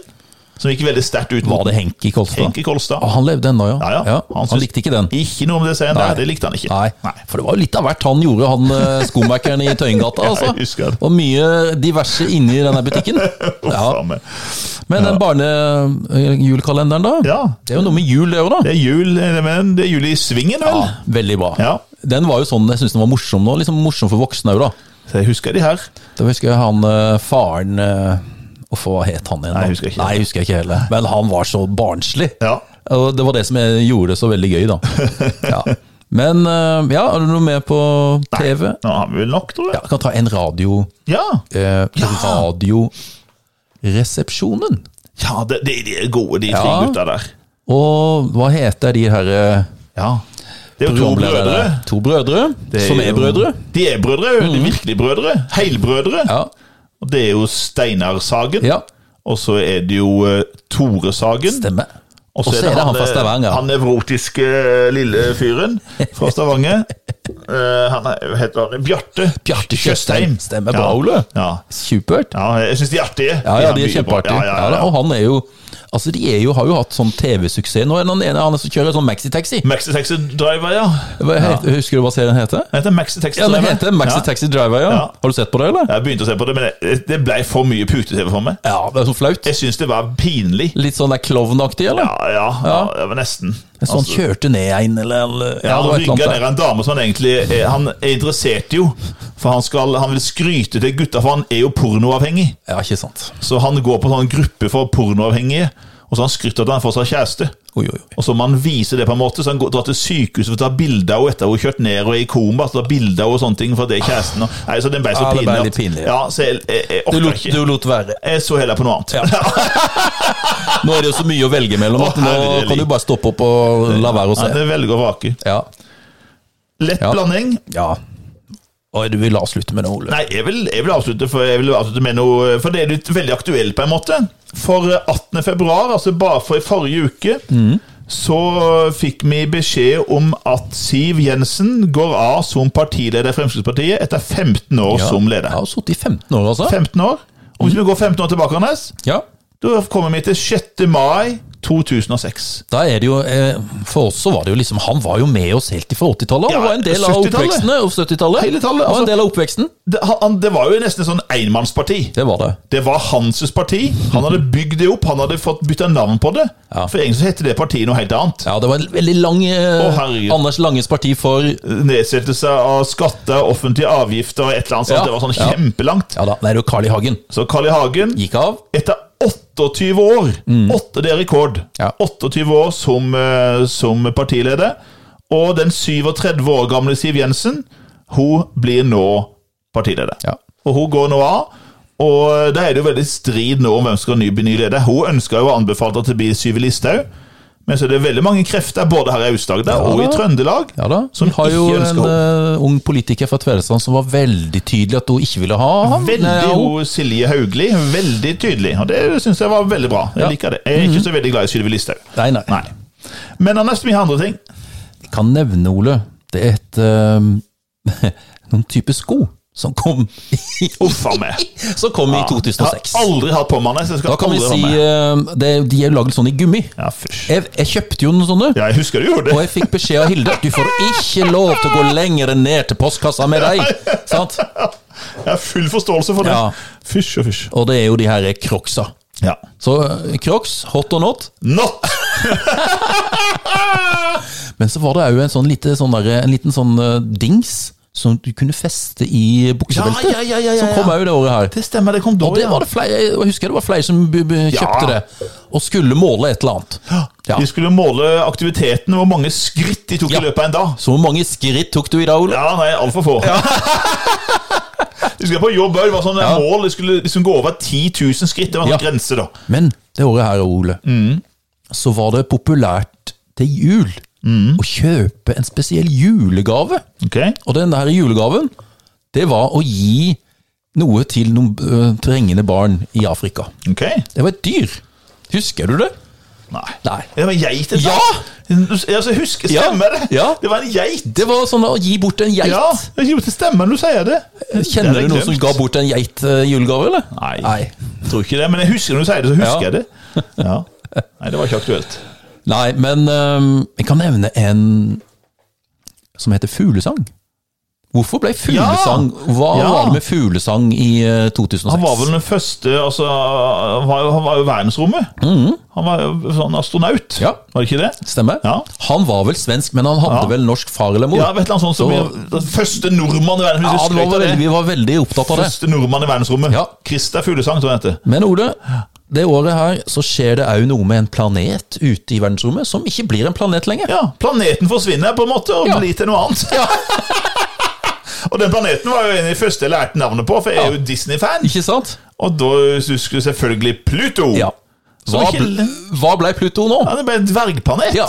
Som gikk veldig sterkt ut Var mot det Henki Kolstad? Henki Kolstad. Ah, han levde ennå, ja. Ja, ja. Han, syntes likte ikke den. Ikke noe om det serien der, det likte han ikke. Nei. Nei. For det var jo litt av hvert han gjorde, han eh, skomakeren i Tøyengata. Ja, jeg Altså. husker det. Og mye diverse inni denne butikken. Ja. Faen meg. Men den barnejulekalenderen, da? Ja. Det er jo noe med jul, det òg, da. Det er jul, eh, men det er jul i svingen, vel? Ja, veldig bra. Ja. Den var jo sånn jeg syns den var morsom nå. Liksom morsom for voksne òg, da. Så jeg husker de her. Da husker jeg han eh, faren eh, Uff, hva het han igjen? da? Nei, jeg husker ikke. Nei, jeg husker ikke heller. Men han var så barnslig. Ja. Og det var det som jeg gjorde det så veldig gøy, da. Ja. Men eh, ja, er det noe mer på TV? Nå har vi vel nok, tror Ja, jeg. jeg kan ta en radio Ja, ja. eh, Radioresepsjonen. det, de, de er gode, de tre Ja. gutta der. Og hva heter de her eh, Ja. Det er jo to brødre. To brødre, Det som er jo- brødre. Mm. De er brødre, jo. de er virkelig brødre. Heilbrødre. Ja, Og det er jo Steinar Sagen. ja Og så er det jo eh, Tore Sagen. stemmer. Og så er det han fra eh, Stavanger. Han nevrotiske eh, lille fyren fra Stavanger. Eh, han er, hva heter han Bjarte. Bjarte Tjøstheim. Stemmer bra, ja. Ole. Ja. Supert. ja, jeg syns de er artige. Ja, ja, de har er mye bra. kjempeartige. Ja, ja, Ja, ja, og han er jo Altså, de er jo, har jo hatt sånn TV-suksess. Nå er det den ene han som kjører sånn maxitaxi. Maxi Taxi Driver, ja. Hva heter- Husker du hva serien heter? Den heter Maxi Taxi Ja, den Driver. heter Maxi Ja. Taxi Driver, ja. Ja. Har du sett på det, eller? Jeg begynte å se på det, men det, det ble for mye pute-TV for meg. Ja, det er så flaut. Jeg syns det var pinlig. Litt sånn der klovnaktig, eller? Ja, ja, ja, det var nesten. Så han sånn, kjørte ned en, eller, eller det Altså- Ja, han var et eller rygger annet ned der. en dame som han egentlig er, han er interessert i jo. For han, skal, han vil skryte til gutta, for han er jo pornoavhengig. Ja, ikke sant. Så han går på sånn gruppe for pornoavhengige, og så har han skrytt av at han får seg kjæreste. Oi, oi, oi. Og så må han vise det på en måte, så han går, drar til sykehuset for å ta bilder av henne etter hun har kjørt ned og er i koma. Så tar bilder av henne og sånne ting, for det er kjæresten. og- Nei, så den ble så Ja, det ble pinlig. litt at- pinlig, ja. Ja, så jeg, jeg, jeg Du orker lot, ikke. du lot være. Jeg så heller på noe annet. Nå er det jo så mye å velge mellom at Å, nå herlig. kan du bare stoppe opp og la være å Ja, se. det velger å vrake. Ja. Lett Ja. blanding. ja. Oi, du vil avslutte med det, Ole? Nei, jeg vil, jeg vil avslutte for, jeg vil avslutte med noe For det er litt veldig aktuelt, på en måte. For eh, 18. februar, altså bare for i forrige uke, så fikk vi beskjed om at Siv Jensen går av som partileder i Fremskrittspartiet etter 15 år Ja. som leder. Jeg har sittet i 15 år, altså. 15 år. Og hvis vi går 15 år tilbake, Anders, Ja. da kommer vi til 6. mai 2006. Da er det jo, eh, For oss så var det jo liksom Han var jo med oss helt ifra 80-tallet. Ja, Han var en del av 70-tallet. oppveksten. og 70-tallet. Hele tallet, Han var altså. en del av oppveksten. Det, han, det var jo nesten sånn enmannsparti. Det var det. Det var Hanses parti. Han hadde bygd det opp. Han hadde fått bytta navn på det. Ja. For egentlig så heter det partiet noe helt annet. Ja, det var en veldig lang eh, Å, herregud. Anders Langes parti for Ja Nedsettelse av skatter, offentlige avgifter og et eller annet sånt. Ja, Det var sånn ja. kjempelangt. da, nei, det er jo Carl I. Hagen. Så Carl I. Hagen, Gikk av. etter 28 år åtte, Det er rekord. Ja. 28 år som, eh, som partileder. Og den 37 år gamle Siv Jensen, hun blir nå partileder. Ja. Og hun går nå av. Og eh, da er det jo veldig strid nå om hvem som skal ny- bli ny leder. Hun ønsker jo og anbefalte at det blir Syvi Listhaug. Men så er det veldig mange krefter både her i Aust-Agder og i da. Trøndelag Ja da. som Hun har jo ikke en ønsker henne. eh, ung politiker fra Tvedestrand som var veldig tydelig at hun ikke ville ha ham. Nei, Veldig ja, hun- hun Silje Haugli. Veldig tydelig. Og det syns jeg var veldig bra. Jeg Ja. Mhm. liker det. Jeg er ikke så veldig glad i Sylvi Listhaug. Nei, nei. Men Anders, vi har andre ting. Jeg kan nevne, Ole, det er et eh, noen type sko som kom i, Uff a meg. som kom i 2006. Jeg har aldri hatt på meg den. så jeg skal Da kan vi aldri ha si med. eh, det, De er jo laget sånn i gummi. Ja, fysj. Jeg, jeg kjøpte jo noen sånne. Ja, jeg husker du gjorde Og det. jeg fikk beskjed av Hilde du får ikke lov til å gå lenger ned til postkassa med deg. Sant? Jeg har full forståelse for det. Ja. Fysj og fysj. Og det er jo de her crocsa. Ja. Så eh, crocs, hot or not. Not! Men så var det òg en, sånn lite, sånn der- en liten sånn eh, dings som du kunne feste i buksebeltet. Ja, ja, ja, ja, ja, Som kom ja. òg det året her. Det stemmer, det kom da, Og det var det flere, jeg husker det var flere som b- b- kjøpte Ja. det, og skulle måle et eller annet. Ja. Vi skulle måle aktiviteten, hvor mange skritt de tok Ja. i løpet av en dag. Så hvor mange skritt tok du i dag, Ole? Ja, nei, altfor få. De skulle på jobb òg. Det var sånn Ja. mål. De skulle liksom gå over 10 000 skritt. Det var en Ja. grense, da. Men det året her, Ole, Mm. så var det populært til jul Mm. å kjøpe en spesiell julegave. Ok? Og den der julegaven, det var å gi noe til noen øh, trengende barn i Afrika. Ok? Det var et dyr. Husker du det? Nei. Nei. Det var en geit. Ja! Altså, husker, Ja. stemmer det? Ja. Det var en geit. Det var sånn å gi bort en geit. Ja, jo, det stemmer når du sier det. Kjenner du noen som ga bort en geit øh, julegave, eller? Nei. Nei. Jeg tror ikke det, men jeg husker når du sier det, så Ja. husker jeg det. Ja. Nei, det var ikke aktuelt. Nei, men øhm, jeg kan nevne en som heter Fuglesang. Hvorfor ble fuglesang Hva Ja. var det med fuglesang i øh, 2006? Han var vel den første altså, Han var jo, han var jo i verdensrommet. Han var jo sånn astronaut, Mhm. Ja. var det ikke det? Stemmer. Ja. Han var vel svensk, men han hadde Ja. vel norsk far eller mor? Ja, vet du, sånn som Så- den Første nordmann i Ja, verdensrommet. hvis du det var skrøt av veldig, det. vi var veldig opptatt av det. Første nordmann i verdensrommet. Ja. Christer Fuglesang, tror jeg han heter. Men Ole, det året her så skjer det òg noe med en planet ute i verdensrommet som ikke blir en planet lenger. Ja, planeten forsvinner på en måte og Ja. blir til noe annet. og den planeten var jo en av de første jeg lærte navnet på, for jeg er jo Disney-fan. Ikke sant? Og da husker du selvfølgelig Pluto. Ja. Som Hva, ikke- bl- hva ble Pluto nå? Ja, det ble en dvergplanet. Ja.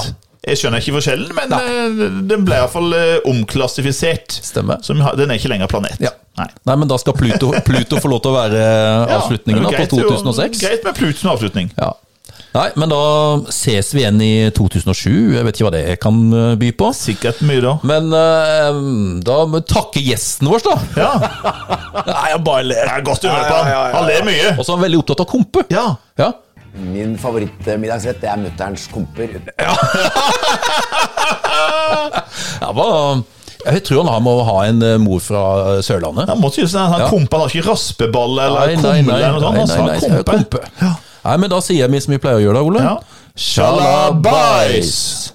Jeg skjønner ikke forskjellen, men Nei. eh, den ble iallfall omklassifisert. Stemmer. Som, ha- den er ikke lenger planet. Ja. Nei. Nei, men da skal Pluto, Pluto få lov til å være Ja, avslutningen da, det er på greit, jo, 2006. Greit med Pluto som avslutning. Ja. Nei, men da ses vi igjen i 2007. Jeg vet ikke hva det kan eh, by på. Sikkert mye, da. Men eh, da må vi takke gjesten vår, da. Ja, Nei, jeg bare ler. det er godt humør på han. Han ler mye. Og så er han veldig opptatt av kompe. Ja. Ja. Min favorittmiddagsrett det er mutterns komper. uten- Ja, hva- jeg tror han har med å ha en eh, mor fra eh, Sørlandet. Han måtte jo sånn, han Ja. kompa, han har ikke raspeball eller kumle eller noe sånt. altså. Han sa nei, kompe. kompe. Nei, men da sier vi som vi pleier å gjøre da, Ole. Ja. Sjalabais!